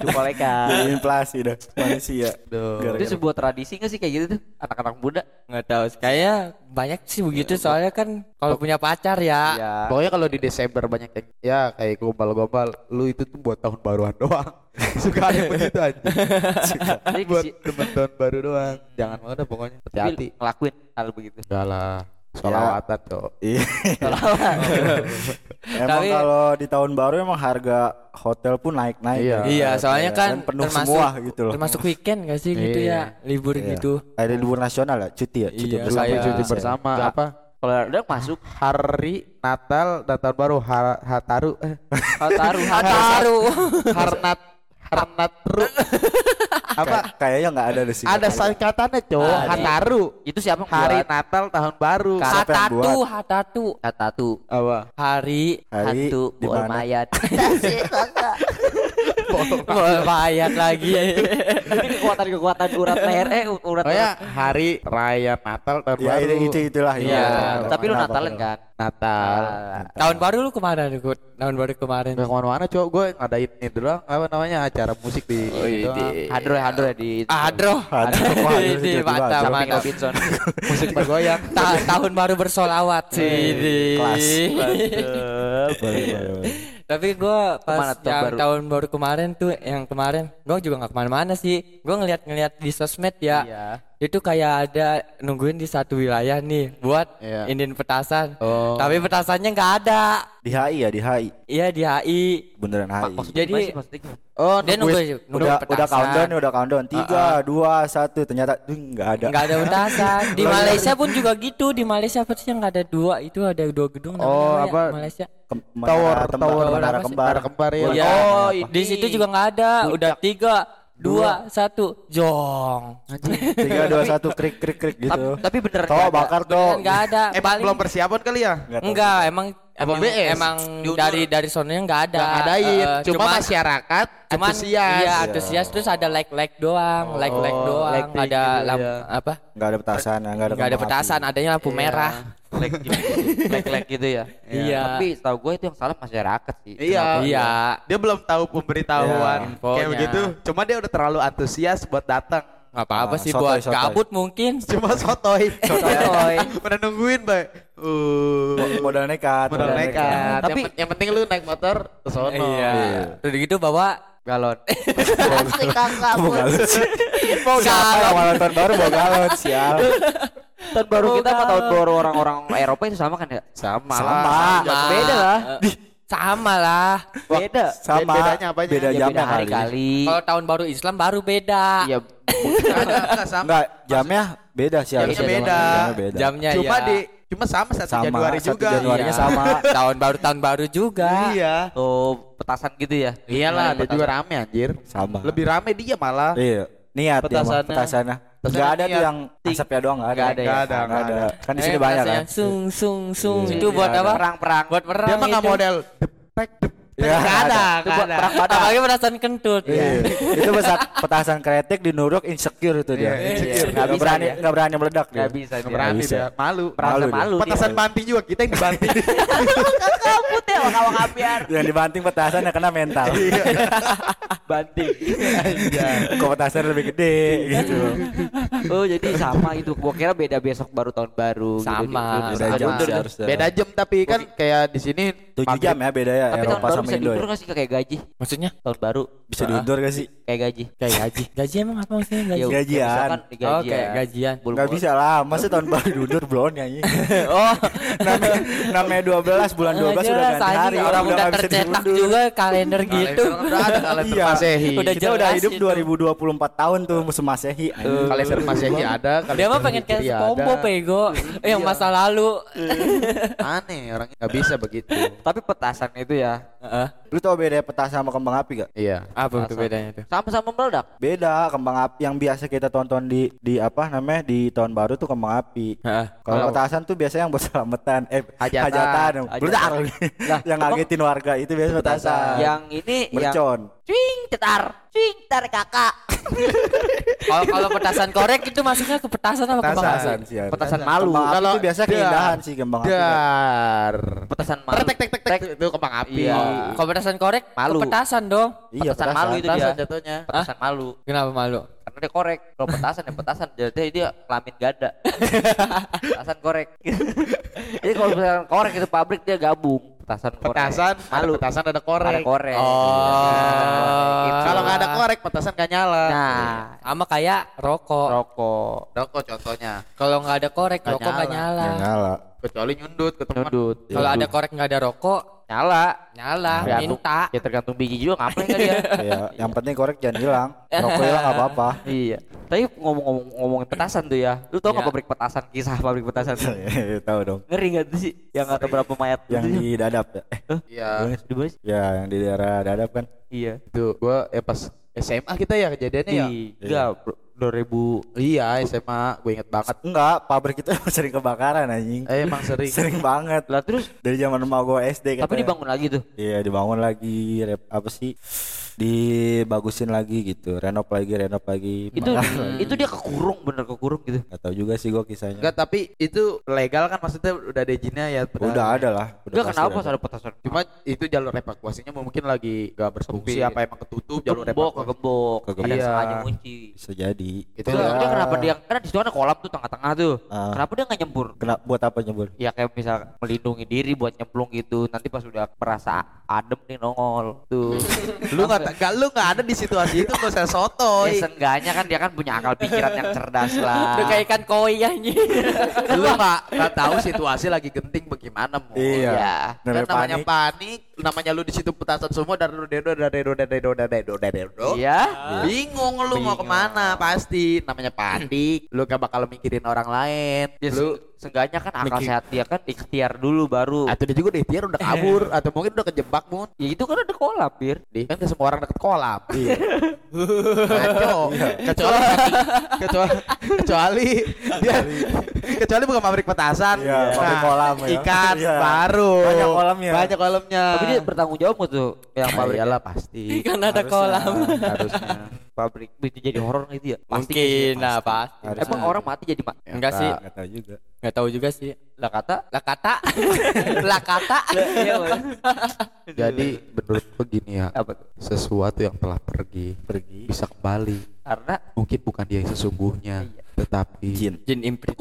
Speaker 1: Pucu kolekan.
Speaker 4: jadi Nah, inflasi dah manusia
Speaker 1: Itu
Speaker 4: Gara-gara-
Speaker 1: sebuah tradisi gak sih kayak gitu tuh anak-anak muda?
Speaker 2: Nggak tahu. Kayaknya banyak sih begitu soalnya kan kalau punya pacar ya.
Speaker 1: Iya.
Speaker 3: Pokoknya kalau di Desember banyak yang ya kayak gombal-gombal, lu itu tuh buat tahun baruan doang. Suka ada yang begitu aja.
Speaker 1: Tapi
Speaker 3: buat
Speaker 1: si-
Speaker 3: temen tahun baru doang. Jangan mau dah pokoknya.
Speaker 1: tapi
Speaker 3: Hati-hati.
Speaker 1: ngelakuin hal begitu.
Speaker 3: Enggak lah. Solawatan tuh.
Speaker 4: Iya. emang
Speaker 5: Tapi-
Speaker 4: kalau di tahun baru emang harga hotel pun naik-naik.
Speaker 3: Iya.
Speaker 4: ya.
Speaker 5: Iya, soalnya kan
Speaker 4: penuh
Speaker 5: termasuk-
Speaker 4: semua gitu loh.
Speaker 2: Termasuk weekend gak sih gitu
Speaker 3: Iya.
Speaker 2: ya, libur
Speaker 4: Iya.
Speaker 2: gitu.
Speaker 4: Ada libur nasional ya, cuti ya, cuti
Speaker 2: Iya,
Speaker 4: bersama.
Speaker 3: Tapi
Speaker 5: saya-
Speaker 3: cuti bersama apa?
Speaker 1: Kalau udah masuk
Speaker 3: Hari Iya. Natal dan tahun baru har, Hataru eh
Speaker 1: Hataru
Speaker 2: Hataru.
Speaker 3: Harnat Harnatru. apa?
Speaker 4: Kayak- kayaknya nggak ada di sini.
Speaker 3: Ada singkatannya, cowok.
Speaker 2: Ada.
Speaker 3: Hataru.
Speaker 1: Itu siapa yang
Speaker 3: Hari
Speaker 1: buat?
Speaker 3: Natal tahun baru.
Speaker 4: Siapa yang
Speaker 2: Hatatu,
Speaker 4: buat?
Speaker 2: hatatu.
Speaker 1: Hatatu
Speaker 3: Apa?
Speaker 2: Hari
Speaker 4: Hari
Speaker 1: Hatu
Speaker 4: di
Speaker 1: Buat
Speaker 4: mana?
Speaker 1: mayat
Speaker 2: Wah, bayat Oh, lagi.
Speaker 1: Ini kekuatan-kekuatan urat leher Eh urat
Speaker 3: Oh ya, hari raya Natal tahun
Speaker 4: Ya,
Speaker 3: baru.
Speaker 4: itu, itu itulah.
Speaker 1: Iya Tapi lu Natalan kan
Speaker 3: Natal.
Speaker 2: Tahun baru lu kemana nih, Gut? Tahun baru kemarin.
Speaker 3: Gak kemana-mana cowok gue ngadain ini doang apa namanya acara musik di
Speaker 2: Oh, iya,
Speaker 3: ini doang.
Speaker 1: Hadro ya hadro ya di
Speaker 2: Adro.
Speaker 4: Wah, itu
Speaker 2: Ini
Speaker 4: tiba-tiba
Speaker 2: mantap,
Speaker 4: ada.
Speaker 1: Sama
Speaker 2: mantap.
Speaker 1: Robinson
Speaker 3: musik bergoyang.
Speaker 2: Ta- tahun baru bersolawat sih.
Speaker 4: Kelas.
Speaker 3: Boleh, boleh, boleh.
Speaker 2: Tapi gua
Speaker 1: Kemana
Speaker 2: pas
Speaker 1: tuh
Speaker 2: yang
Speaker 1: baru?
Speaker 2: tahun baru kemarin tuh, yang kemarin, gua juga nggak kemana-mana sih. Gua ngeliat-ngeliat di sosmed ya.
Speaker 1: Iya
Speaker 2: Itu kayak ada nungguin di satu wilayah nih buat
Speaker 3: Iya.
Speaker 2: indin petasan.
Speaker 3: Oh.
Speaker 2: Tapi petasannya nggak ada.
Speaker 4: Di HI ya, di HI.
Speaker 2: Iya di HI.
Speaker 4: Beneran HI.
Speaker 2: Jadi-
Speaker 1: Gimana sih maksudnya gimana?
Speaker 3: Oh,
Speaker 2: Dia nunggu,
Speaker 3: nungguin.
Speaker 2: nunggu
Speaker 4: Udah, udah
Speaker 2: petasan.
Speaker 4: countdown,
Speaker 3: ya?
Speaker 4: nih, udah countdown. Tiga, dua, satu. Ternyata tuh nggak ada.
Speaker 2: Nggak ada petasan. Di Malaysia pun juga gitu. Di Malaysia pasti nggak ada dua. Itu ada dua gedung namanya
Speaker 3: Oh,
Speaker 2: apa ya,
Speaker 3: apa?
Speaker 2: Malaysia.
Speaker 4: Kem-
Speaker 3: Tower,
Speaker 4: menara tembar-
Speaker 3: tower,
Speaker 4: menara
Speaker 3: apa sih?
Speaker 4: kembar.
Speaker 3: Menara kembar, iya.
Speaker 2: Iya.
Speaker 1: Oh,
Speaker 2: i-
Speaker 1: ini.
Speaker 2: di situ juga nggak ada. Udah tiga, dua, satu, jong.
Speaker 4: Tiga, dua, satu. Krik, krik, krik gitu.
Speaker 1: Tapi- Tapi beneran
Speaker 4: Toh
Speaker 1: nggak ada.
Speaker 4: bakar
Speaker 2: Kan
Speaker 4: toh.
Speaker 2: nggak ada.
Speaker 3: Oh. Eh, Emang belum persiapan kali ya?
Speaker 4: Nggak tahu.
Speaker 2: Enggak, emang
Speaker 3: Apa
Speaker 2: emang,
Speaker 3: BS?
Speaker 2: emang
Speaker 3: Diundur.
Speaker 2: dari dari sononya nggak ada.
Speaker 3: Gak adain,
Speaker 2: Eh,
Speaker 3: iya. cuma
Speaker 2: cuman-
Speaker 3: masyarakat
Speaker 2: cuman
Speaker 3: antusias.
Speaker 2: iya antusias terus ada like-like doang, like-like
Speaker 3: Oh,
Speaker 2: doang,
Speaker 3: lighting
Speaker 2: ada
Speaker 3: gitu
Speaker 2: lamp-
Speaker 3: ya.
Speaker 2: apa?
Speaker 4: Nggak ada petasan, ya, nggak ada
Speaker 2: Enggak ada
Speaker 4: kembang
Speaker 2: petasan,
Speaker 4: api.
Speaker 2: adanya lampu merah.
Speaker 1: Black gitu. Black black gitu ya
Speaker 2: Iya.
Speaker 1: Tapi setahu gue itu yang salah masyarakat sih
Speaker 3: Iya.
Speaker 2: Iya.
Speaker 3: Dia belum tahu
Speaker 2: Iya,
Speaker 3: pemberitahuan kayak
Speaker 2: infonya.
Speaker 3: begitu. Cuma dia udah terlalu antusias buat datang.
Speaker 2: Nggak apa-apa
Speaker 4: Ah,
Speaker 2: sih
Speaker 4: sotoy,
Speaker 2: buat
Speaker 4: sotoy.
Speaker 2: gabut mungkin.
Speaker 3: Cuma sotoy.
Speaker 2: Sotoy.
Speaker 3: Udah nungguin, Bay. Uh.
Speaker 4: Modal nekat.
Speaker 3: Modal
Speaker 1: Nah,
Speaker 3: nekat. Tapi yang, penting lu naik motor ke sono.
Speaker 2: Iya. Udah gitu bawa
Speaker 3: Galon.
Speaker 4: Mau galon sih. Mau siapa
Speaker 2: galon.
Speaker 4: yang malam tahun baru mau galon sial.
Speaker 1: Tahun baru kita sama tahun baru orang-orang Eropa itu sama kan ya?
Speaker 3: Sama.
Speaker 4: Sama.
Speaker 3: Iya, lah.
Speaker 2: Sama.
Speaker 1: Beda lah.
Speaker 2: Eh, Sama lah.
Speaker 1: Beda.
Speaker 4: Sama.
Speaker 3: Bedanya apanya?
Speaker 4: Beda
Speaker 3: Ya,
Speaker 1: Ya,
Speaker 4: jamnya
Speaker 1: beda hari
Speaker 4: kali.
Speaker 1: kali.
Speaker 2: Kalau tahun baru Islam baru beda.
Speaker 1: Iya.
Speaker 3: Enggak, enggak sama.
Speaker 4: Enggak, jamnya beda sih
Speaker 3: Jamnya
Speaker 4: harusnya.
Speaker 3: beda.
Speaker 4: Jamnya beda.
Speaker 2: Jamnya
Speaker 3: Cuma
Speaker 2: ya.
Speaker 3: di cuma sama 1
Speaker 4: Sama,
Speaker 3: Januari
Speaker 4: 1
Speaker 3: juga.
Speaker 4: Januari. Januarinya sama.
Speaker 2: Iya. tahun baru tahun baru juga.
Speaker 3: Iya.
Speaker 1: Oh, petasan gitu ya.
Speaker 3: Iyalah, dia
Speaker 1: Petasan.
Speaker 3: juga rame anjir.
Speaker 4: Sama.
Speaker 3: Lebih rame dia malah.
Speaker 4: Iya. Niat
Speaker 3: Petasannya.
Speaker 4: petasannya. Ya, petasannya.
Speaker 3: Petasannya
Speaker 4: Enggak ada tuh
Speaker 3: niat.
Speaker 4: yang asapnya doang enggak ada.
Speaker 1: Nggak ada ya?
Speaker 4: Nggak ada.
Speaker 3: Nggak ada.
Speaker 4: Kan di sini
Speaker 2: Eh,
Speaker 4: banyak
Speaker 2: rasanya
Speaker 4: kan.
Speaker 2: Sung sung sung.
Speaker 4: Iya.
Speaker 2: Itu buat
Speaker 4: Iya,
Speaker 2: apa?
Speaker 1: Perang-perang.
Speaker 2: Buat perang.
Speaker 3: Dia mah nggak
Speaker 2: itu.
Speaker 1: gitu.
Speaker 3: model depek depek.
Speaker 4: Iya,
Speaker 3: Nggak
Speaker 4: nggak
Speaker 3: ada,
Speaker 4: ada.
Speaker 3: nggak ada.
Speaker 2: Apalagi petasan kentut.
Speaker 4: Iya. itu pesat, petasan kretek di Nuruk insecure itu dia.
Speaker 3: Iya, insecure.
Speaker 4: Nggak
Speaker 1: Nggak bisa
Speaker 4: berani,
Speaker 1: dia.
Speaker 4: nggak berani meledak dia.
Speaker 1: Nggak bisa
Speaker 3: Berani
Speaker 1: dia.
Speaker 4: Nggak Ya, bisa.
Speaker 3: dia, malu.
Speaker 1: Perasa
Speaker 4: Malu dia.
Speaker 1: malu. dia.
Speaker 3: Petasan banting juga kita yang dibanting.
Speaker 1: Kabut ya wakawak apian.
Speaker 4: Yang dibanting petasan yang kena mental.
Speaker 2: Iya.
Speaker 4: Iya.
Speaker 1: Banting.
Speaker 4: Kok petasan lebih gede
Speaker 2: Iya.
Speaker 4: gitu.
Speaker 1: Oh, jadi sama itu. Gua kira beda besok baru tahun baru gitu.
Speaker 2: Sama.
Speaker 1: Gitu.
Speaker 4: Beda
Speaker 1: Sama.
Speaker 4: jam
Speaker 1: Mundur
Speaker 4: sih
Speaker 1: deh.
Speaker 4: harusnya.
Speaker 3: Beda jam tapi kan kayak di sini
Speaker 4: 7
Speaker 3: maghrib.
Speaker 4: jam ya beda ya
Speaker 1: Tapi tahun
Speaker 4: Eropa
Speaker 1: baru
Speaker 4: sama
Speaker 1: bisa
Speaker 4: Indo.
Speaker 1: diundur
Speaker 4: ya.
Speaker 2: kan?
Speaker 1: nggak sih kayak gaji?
Speaker 2: Maksudnya?
Speaker 1: Tahun baru
Speaker 4: Bisa diundur gak sih?
Speaker 1: kayak gaji.
Speaker 2: Kayak gaji. Gaji emang apa maksudnya gaji?
Speaker 1: udah,
Speaker 4: Gajian.
Speaker 1: besok kan di
Speaker 2: Oh,
Speaker 1: gajian.
Speaker 2: kayak gajian.
Speaker 1: Bul-
Speaker 4: Gak bisa lah, masa tahun baru diundur belum ya
Speaker 2: Oh,
Speaker 4: namanya, namanya 12, bulan
Speaker 2: jelas,
Speaker 4: 12 udah ganti
Speaker 2: anjing,
Speaker 4: hari
Speaker 2: Orang udah
Speaker 4: nggak bisa
Speaker 2: tercetak
Speaker 4: diundur.
Speaker 2: juga kalender gitu.
Speaker 3: Udah ada kalender
Speaker 4: Iya.
Speaker 3: Masehi.
Speaker 2: Udah
Speaker 4: Kita udah
Speaker 2: jelas
Speaker 4: hidup
Speaker 2: itu.
Speaker 4: 2024 tahun tuh musim masehi anjing.
Speaker 3: Kalender Masehi ada, kalender
Speaker 2: Dia mah pengen kayak eh.
Speaker 3: Hijriah
Speaker 2: kombo
Speaker 3: ada.
Speaker 2: pego yang masa lalu. Iya.
Speaker 3: Aneh orangnya nggak bisa begitu.
Speaker 1: Tapi petasan itu ya.
Speaker 2: Heeh.
Speaker 4: Lu tau beda petasan sama kembang api gak?
Speaker 3: Iya.
Speaker 2: Apa tuh bedanya tuh?
Speaker 1: Sama-sama meledak.
Speaker 4: Beda, kembang api yang biasa kita tonton di di apa namanya di tahun baru tuh kembang api.
Speaker 2: Heeh.
Speaker 4: Kalau petasan tuh biasanya yang buat selamatan, eh
Speaker 3: Hajatan.
Speaker 4: hajatan,
Speaker 1: Hajatan.
Speaker 4: Bledar.
Speaker 1: Lah,
Speaker 4: yang
Speaker 1: emang-
Speaker 4: ngagetin warga itu biasanya petasan.
Speaker 1: Yang ini yang
Speaker 4: mercon.
Speaker 1: cuing cetar, cuing cetar kakak.
Speaker 2: Kalau kalau petasan korek itu masuknya ke petasan apa kembang api?
Speaker 4: Petasan sih. ya.
Speaker 1: Petasan malu.
Speaker 4: Kembang api
Speaker 3: Kalau
Speaker 4: itu biasanya
Speaker 3: dar-
Speaker 4: keindahan sih kembang api.
Speaker 3: Dar.
Speaker 1: Petasan malu.
Speaker 3: Tek tek tek tek itu kembang api.
Speaker 1: Iya.
Speaker 2: Oh, Kalau petasan korek,
Speaker 1: Malu.
Speaker 2: ke petasan dong.
Speaker 4: Iya,
Speaker 1: petasan
Speaker 4: petasan.
Speaker 1: malu itu dia.
Speaker 3: Petasan jatuhnya.
Speaker 1: Petasan malu.
Speaker 2: Kenapa malu?
Speaker 1: Karena dia korek. Kalau petasan ya petasan. Jadi dia kelamin gada. petasan korek. Jadi kalau petasan korek itu pabrik dia gabung. petasan korek.
Speaker 3: Petasan, ada
Speaker 1: Malu.
Speaker 3: petasan ada korek.
Speaker 1: Ada korek. Iya,
Speaker 3: Oh.
Speaker 1: Gitu.
Speaker 3: Kalau nggak ada korek, petasan nggak nyala.
Speaker 2: Nah, sama kayak rokok.
Speaker 3: Rokok. Rokok contohnya.
Speaker 2: Kalau nggak ada korek,
Speaker 3: Nggak
Speaker 2: rokok nggak nyala. Iya.
Speaker 4: Nggak nyala.
Speaker 3: Kecuali nyundut ke teman.
Speaker 1: Nyundut.
Speaker 2: Kalau ada Ah. korek nggak ada rokok,
Speaker 1: Nyala.
Speaker 2: nyala.
Speaker 1: Tergantung-
Speaker 2: Minta.
Speaker 1: Ya tergantung biji juga ngapain kan dia.
Speaker 4: Iya, yang penting korek jangan hilang. Rokok hilang nggak apa-apa.
Speaker 1: Iya. Tapi ngomong-ngomong ngomongin petasan tuh ya. Lu tau nggak
Speaker 2: Iya.
Speaker 1: pabrik petasan? Kisah pabrik petasan.
Speaker 4: Tahu dong.
Speaker 1: Ngeri nggak tuh sih? Yang ada berapa mayat
Speaker 4: Iya. Yang
Speaker 1: itu
Speaker 4: di dadap ya. Eh,
Speaker 3: Iya.
Speaker 1: di bawah sih?
Speaker 4: Ya, yang di daerah dadap kan.
Speaker 1: Iya.
Speaker 3: Itu gua ya pas SMA kita ya kejadiannya ya.
Speaker 4: Iya.
Speaker 1: Tiga. bro. 2000
Speaker 3: Iya, SMA gue inget banget.
Speaker 4: Enggak, pabrik itu emang sering kebakaran anjing.
Speaker 3: Eh, emang sering.
Speaker 4: Sering banget.
Speaker 1: Lah terus
Speaker 4: Dari zaman emak gua SD katanya.
Speaker 1: tapi dibangun lagi tuh.
Speaker 4: Iya, dibangun lagi rep, apa sih? Dibagusin lagi gitu. Renov lagi, renov lagi.
Speaker 1: Itu
Speaker 4: Iya.
Speaker 1: itu dia kekurung bener kekurung gitu.
Speaker 4: Gak tau juga sih gua kisahnya.
Speaker 3: Enggak, tapi itu legal kan maksudnya udah ada izinnya ya. padahal.
Speaker 4: udah ada lah. Udah
Speaker 1: Enggak
Speaker 4: pasti
Speaker 1: kenapa
Speaker 4: ada.
Speaker 1: pas ada petasan.
Speaker 3: Cuma itu jalur evakuasinya mungkin lagi gak berfungsi
Speaker 1: Sepi.
Speaker 3: apa emang ketutup jalur
Speaker 1: Gembok,
Speaker 3: evakuasi.
Speaker 1: kegembok,
Speaker 4: Kegembok.
Speaker 1: ada yang
Speaker 3: Iya.
Speaker 1: sengaja kunci.
Speaker 4: Bisa jadi.
Speaker 3: Itu
Speaker 1: Itu
Speaker 3: lah.
Speaker 1: dia kenapa dia karena di situ kan ada kolam tuh tengah-tengah tuh.
Speaker 4: Ah.
Speaker 1: Kenapa dia nggak nyembur?
Speaker 4: Kena buat apa nyebur?
Speaker 1: Ya kayak misal melindungi diri buat nyemplung gitu. Nanti pas udah merasa adem nih nongol tuh.
Speaker 3: Lu nggak nggak- lu nggak ada di situasi itu nggak usah
Speaker 1: ya
Speaker 3: sotoy.
Speaker 1: seenggaknya kan dia kan punya akal pikiran yang cerdas lah.
Speaker 2: Udah kayak ikan koi anjing.
Speaker 3: lu nggak nggak tahu situasi lagi genting bagaimana mau.
Speaker 4: Iya.
Speaker 3: Kan
Speaker 4: Namanya
Speaker 3: namanya panik, namanya lu di situ petasan semua dari dari dari dari dari dari dari
Speaker 2: gitu?
Speaker 3: dari
Speaker 1: Iya.
Speaker 3: Bingung lu mau kemana pasti namanya panik, lu gak bakal mikirin orang lain.
Speaker 1: Ya,
Speaker 3: Lu
Speaker 1: se- seenggaknya kan akal
Speaker 4: mikir-
Speaker 1: sehat dia kan ikhtiar dulu baru.
Speaker 3: atau dia juga deh biar udah kabur atau mungkin udah kejebak mun.
Speaker 1: Ya itu kan ada kolam, Bir.
Speaker 3: Di kan ke semua orang deket kolam. Iya. Ngaco.
Speaker 4: Iya.
Speaker 3: Kecuali kecuali kecuali dia kecuali bukan pabrik petasan. Nah,
Speaker 4: Iya, pabrik kolam ya.
Speaker 3: Ikan
Speaker 4: Iya.
Speaker 3: baru.
Speaker 4: Banyak kolamnya.
Speaker 3: Banyak kolamnya.
Speaker 1: Tapi
Speaker 2: Ah.
Speaker 1: dia bertanggung jawab nggak tuh yang
Speaker 3: Ah,
Speaker 1: pabrik.
Speaker 3: iyalah pasti.
Speaker 2: Kan ada kolam.
Speaker 3: Harusnya.
Speaker 1: pabrik itu jadi
Speaker 3: Iya.
Speaker 1: horor nggak itu ya? Pasti nggak sih?
Speaker 2: Mungkin nah pasti.
Speaker 4: Harusnya.
Speaker 1: Emang orang mati jadi mati.
Speaker 2: Enggak sih,
Speaker 4: Gak tau juga.
Speaker 2: enggak tahu juga sih.
Speaker 1: Lah kata.
Speaker 2: Lah kata. Lah kata. iya,
Speaker 3: Jadi
Speaker 4: Iya.
Speaker 3: menurutku gini ya,
Speaker 1: apa tuh?
Speaker 3: sesuatu yang telah pergi
Speaker 4: Pergi.
Speaker 3: bisa kembali.
Speaker 1: Karena
Speaker 3: Mungkin bukan dia yang sesungguhnya, tetapi
Speaker 4: Iya. Jin.
Speaker 2: Jin imprit.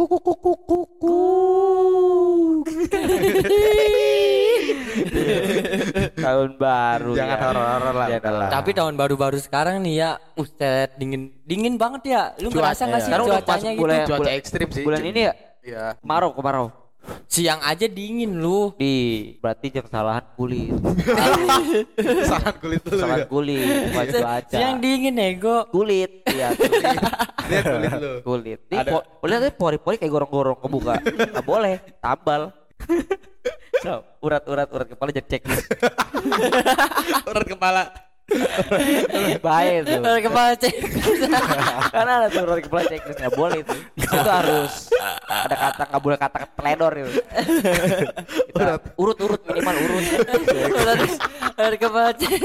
Speaker 1: tahun baru
Speaker 3: Jangan
Speaker 1: ya.
Speaker 3: horor-horor lah,
Speaker 1: Jangan
Speaker 3: udahlah.
Speaker 2: Tapi tahun baru-baru sekarang nih ya, uset dingin dingin banget ya. Lu ngerasa nggak sih
Speaker 1: Sekarang udah
Speaker 2: cuacanya
Speaker 1: masuk
Speaker 2: gitu?
Speaker 1: bulan-
Speaker 3: cuaca ekstrim sih.
Speaker 1: Bulan ini ya
Speaker 3: Iya.
Speaker 1: kemarau kemarau.
Speaker 2: Siang aja dingin lu.
Speaker 1: Di berarti jam salahan kulit.
Speaker 3: Saran kulit dulu.
Speaker 1: Salahan
Speaker 3: ya.
Speaker 1: kulit bukan cuaca.
Speaker 2: Siang dingin nego.
Speaker 1: kulit. Iya kulit.
Speaker 3: Lihat kulit lu.
Speaker 1: kulit. Ini po- boleh tapi pori-pori kayak gorong-gorong kebuka. Nggak boleh, tambal. So, urat-urat urat kepala jadi checklist.
Speaker 3: Urat kepala.
Speaker 1: Bahaya tuh.
Speaker 2: Udah Kepala cek.
Speaker 1: Karena ada tuh urat kepala checklist nggak boleh itu. Itu harus ada kata nggak boleh kata teledor itu. Kita urut-urut minimal urut.
Speaker 2: Udah kepala cek.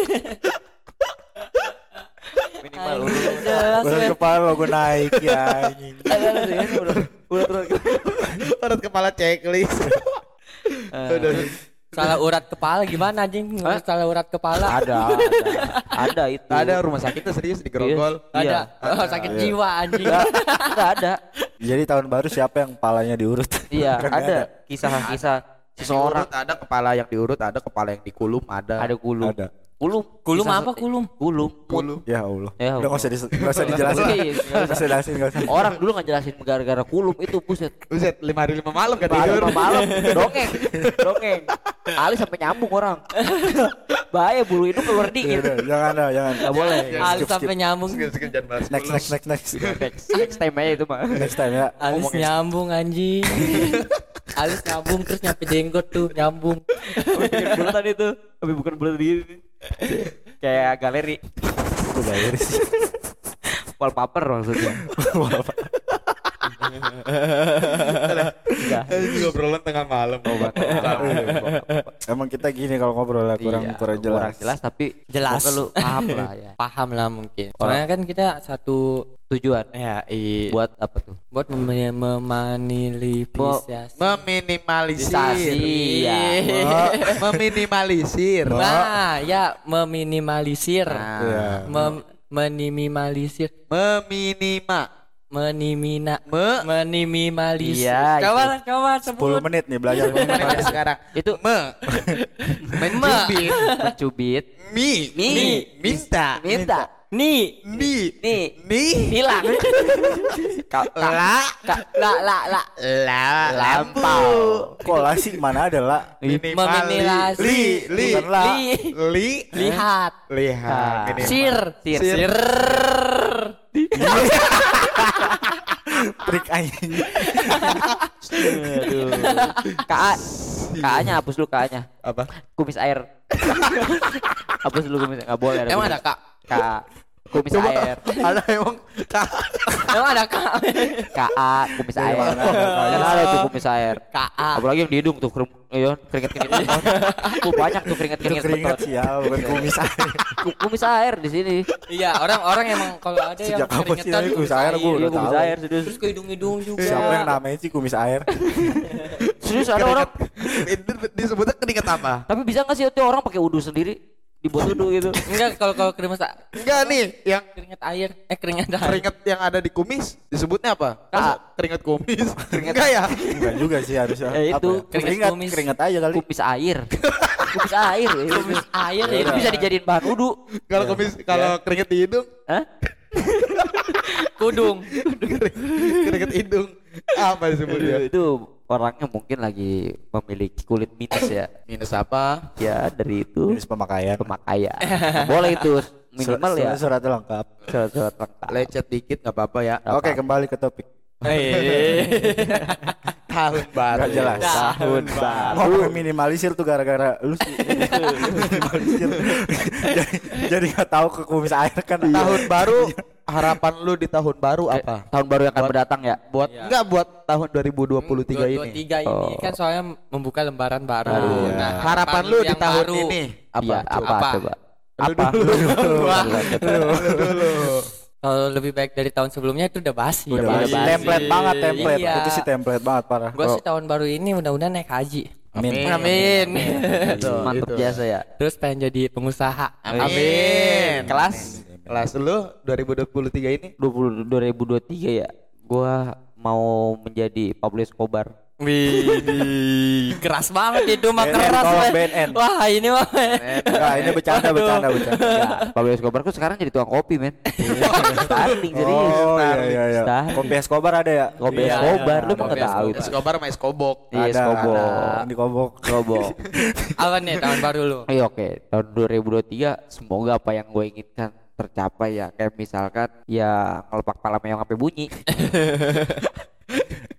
Speaker 1: minimal urut.
Speaker 2: Jelas
Speaker 4: Udah
Speaker 2: men.
Speaker 4: kepala lo gue naik ya anjing.
Speaker 1: Ada ada tuh ya, urut- urut-urut.
Speaker 3: Urat kepala checklist. Udah.
Speaker 2: Salah urat kepala gimana anjing? Salah urat kepala.
Speaker 1: Ada, ada. Ada itu.
Speaker 3: Ada rumah sakit tuh serius di Grogol.
Speaker 1: Iya.
Speaker 2: Ada. Oh, sakit jiwa anjing.
Speaker 1: Nggak nggak ada.
Speaker 4: Jadi tahun baru siapa yang palanya diurut? Kan
Speaker 1: Iya, ada kisah-kisah seseorang
Speaker 3: Seseorang ada kepala yang diurut, ada kepala yang dikulum, ada.
Speaker 1: ada kulum.
Speaker 4: Ada.
Speaker 1: Kulum.
Speaker 2: Kulum
Speaker 1: Kisah
Speaker 2: apa
Speaker 1: se-
Speaker 2: kulum?
Speaker 1: Kulum.
Speaker 3: Kulum.
Speaker 4: Ya Allah. Udah
Speaker 1: Ya Allah.
Speaker 4: nggak usah, dis- nggak usah dijelasin.
Speaker 1: Iya, Oh, nggak
Speaker 4: Nggak usah dijelasin, nggak usah.
Speaker 1: Orang dulu ngejelasin gara-gara kulum itu buset.
Speaker 3: Buset, lima hari lima malam kan tidur.
Speaker 1: Malam malam dongeng, dongeng. Alis sampai nyambung orang. Bahaya bulu hidung keluar
Speaker 4: Ya
Speaker 1: dingin.
Speaker 4: udah, jangan lah, jangan.
Speaker 1: Gak iya. boleh.
Speaker 2: Alis
Speaker 4: skip,
Speaker 2: sampai nyambung.
Speaker 3: Skip, skip, jangan bahas.
Speaker 4: Next, next, next, next.
Speaker 1: Next, next time aja itu mah.
Speaker 4: Next time ya.
Speaker 2: Alis nyambung anjing. Alis nyambung terus nyampe jenggot tuh nyambung.
Speaker 1: Bikin bulatan itu, tapi bukan bulatan gini. Kayak galeri
Speaker 4: Aku bayar
Speaker 1: Iya.
Speaker 4: sih.
Speaker 1: wallpaper maksudnya. Udah.
Speaker 3: Iya. Ini obrolan tengah malam. Iya.
Speaker 4: Emang kita gini kalau ngobrol ya kurang
Speaker 1: Iya,
Speaker 4: kurang jelas.
Speaker 1: Kurang jelas tapi
Speaker 2: Jelas.
Speaker 1: semoga lu paham lah ya.
Speaker 2: Paham lah mungkin. Soalnya kan kita satu
Speaker 1: Tujuan
Speaker 2: ya i, buat
Speaker 1: buat apa tuh?
Speaker 2: buat mem- memanilipisasi.
Speaker 3: Meminimalisir.
Speaker 1: Sensasi ya.
Speaker 3: Meminimalisir.
Speaker 2: Nah, ya meminimalisir.
Speaker 1: Nah.
Speaker 4: Iya.
Speaker 2: Mem- menimalisir.
Speaker 3: Meminima.
Speaker 2: menimina
Speaker 3: Me-
Speaker 2: meniminimalis.
Speaker 1: Iya, itu.
Speaker 2: kawan kawan sebut
Speaker 4: 10 menit nih belajar
Speaker 1: Iya.
Speaker 3: Mulai sekarang
Speaker 1: Itu
Speaker 3: me
Speaker 1: mencubit, mencubit,
Speaker 3: mi
Speaker 1: Mi.
Speaker 3: minta
Speaker 1: minta,
Speaker 2: nih
Speaker 3: ni
Speaker 1: Ni.
Speaker 3: ni
Speaker 1: hilang. Ka- ka-
Speaker 3: la
Speaker 1: ka- la la la.
Speaker 3: la
Speaker 1: Lampau.
Speaker 4: kolasi mana ada lah
Speaker 2: Meminilasi.
Speaker 3: li li
Speaker 4: Bukan lah.
Speaker 2: li
Speaker 3: li
Speaker 2: lihat
Speaker 3: lihat Minimal.
Speaker 2: sir
Speaker 1: Sir.
Speaker 4: trik anjing
Speaker 1: Aduh. Ka Ka-nya hapus lu Ka-nya.
Speaker 3: apa
Speaker 1: Kumis air. hapus lu kumis enggak boleh ada.
Speaker 2: emang ada
Speaker 1: kumis.
Speaker 2: kak
Speaker 1: Ka kumis
Speaker 3: Coba,
Speaker 1: air.
Speaker 3: ada emang kak
Speaker 2: emang ada kak
Speaker 1: Ka kumis air.
Speaker 4: mana ada
Speaker 1: Kan ada tuh kumis air.
Speaker 2: kak
Speaker 1: Apalagi yang di hidung tuh kering, iya, keringet keringet. Oh, banyak tuh keringet
Speaker 4: itu
Speaker 1: keringet.
Speaker 4: keringat sih ya bukan
Speaker 1: Iya.
Speaker 4: kumis air
Speaker 1: Kumis air di sini.
Speaker 2: iya orang-orang emang kalau ada yang
Speaker 4: Sejak kapan sih
Speaker 2: keringetan
Speaker 4: namanya
Speaker 2: juga
Speaker 4: kumis air, gua
Speaker 1: Iya
Speaker 4: udah
Speaker 1: kumis
Speaker 4: tahu.
Speaker 1: air serius.
Speaker 2: terus ke hidung-hidung juga
Speaker 4: siapa yang namanya sih kumis air
Speaker 1: Serius ada orang.
Speaker 3: Itu disebutnya keringet apa
Speaker 1: Tapi bisa nggak sih itu orang pakai udu sendiri? Dibuat udu gitu.
Speaker 2: enggak kalau kalau keringet
Speaker 3: enggak nih yang
Speaker 2: keringet air eh keringet air
Speaker 3: keringet yang ada di kumis disebutnya apa
Speaker 1: Kak.
Speaker 3: Masa keringet kumis enggak ya
Speaker 4: enggak juga sih harusnya
Speaker 1: Eh,
Speaker 4: Apa
Speaker 1: itu,
Speaker 4: ya?
Speaker 2: keringat
Speaker 4: keringat
Speaker 2: kumis.
Speaker 4: keringat aja kali
Speaker 1: Kumis air. Kumis air. ya.
Speaker 2: air ya
Speaker 1: Itu bisa dijadiin bahan udu.
Speaker 3: kalau kumis kalau keringet di hidung
Speaker 1: Hah?
Speaker 2: kudung
Speaker 3: keringet hidung apa disebutnya
Speaker 1: Itu orangnya mungkin lagi memiliki kulit minus ya.
Speaker 3: minus apa
Speaker 1: Ya dari itu
Speaker 4: kumis pemakaian
Speaker 1: pemakaian. Nggak boleh itu minimal ya.
Speaker 4: Surat- surat lengkap
Speaker 1: Surat-surat lengkap.
Speaker 3: lecet dikit nggak apa-apa ya
Speaker 4: oke kembali ke topik
Speaker 2: Eh, iya,
Speaker 3: tahun baru
Speaker 4: Nggak jelas.
Speaker 3: tahun baru
Speaker 4: Ngomongin minimalisir tuh gara-gara lu sih minimalisir. jadi jadi nggak tahu ke kumis air kan.
Speaker 3: tahun baru harapan lu di tahun baru
Speaker 1: Eh,
Speaker 3: apa
Speaker 1: Tahun baru yang akan
Speaker 3: Buat-
Speaker 1: berdatang ya.
Speaker 3: buat
Speaker 2: Iya.
Speaker 3: enggak buat tahun 2023 ini
Speaker 2: 23 ini
Speaker 1: Oh.
Speaker 2: kan soalnya membuka lembaran baru.
Speaker 1: Baru,
Speaker 4: ya.
Speaker 3: Nah, harapan lu di
Speaker 2: yang
Speaker 3: tahun
Speaker 2: baru.
Speaker 3: ini apa
Speaker 1: Iya,
Speaker 3: Coba.
Speaker 1: apa,
Speaker 2: Apa?
Speaker 1: coba?
Speaker 3: Lu
Speaker 1: Apa?
Speaker 3: dulu.
Speaker 1: Coba, coba.
Speaker 2: Kalau lebih baik dari tahun sebelumnya itu udah basi.
Speaker 4: Udah
Speaker 1: Udah
Speaker 4: basi.
Speaker 1: basi.
Speaker 4: Template banget template.
Speaker 2: Iya.
Speaker 4: Itu sih template banget parah.
Speaker 2: Gue sih tahun baru ini mudah-mudahan naik haji.
Speaker 4: Amin.
Speaker 2: Amin.
Speaker 1: Mantap biasa ya.
Speaker 2: Terus pengen jadi pengusaha.
Speaker 3: Amin. Kelas
Speaker 4: Amin.
Speaker 3: kelas lu 2023 ini
Speaker 1: 20 2023 ya. Gua mau menjadi Pablo Escobar.
Speaker 2: Wih, keras banget itu mah
Speaker 4: BNN,
Speaker 2: keras.
Speaker 4: tolong
Speaker 2: weh.
Speaker 4: BNN.
Speaker 2: Wah, ini mah. weh.
Speaker 4: Nah, ini bercanda
Speaker 2: Waduh.
Speaker 4: bercanda bercanda.
Speaker 1: Ya, Pablo Escobar tuh sekarang jadi tukang kopi, men. Starting serius.
Speaker 4: Oh iya iya iya.
Speaker 1: Starling.
Speaker 4: Kopi Escobar ada ya?
Speaker 1: Kopi
Speaker 2: Iya,
Speaker 1: Escobar
Speaker 2: iya,
Speaker 1: lu
Speaker 2: kopi
Speaker 1: mau tahu
Speaker 2: Escobar.
Speaker 1: itu.
Speaker 3: Escobar sama Escobok.
Speaker 1: Iya,
Speaker 4: Ada,
Speaker 1: Escobar.
Speaker 4: ada. Di kobok.
Speaker 1: Kobo.
Speaker 2: Apa nih tahun baru lu?
Speaker 1: Iya oke, tahun 2023 semoga apa yang gue inginkan tercapai ya. Kayak misalkan ya ngelepak pala meyong sampai bunyi.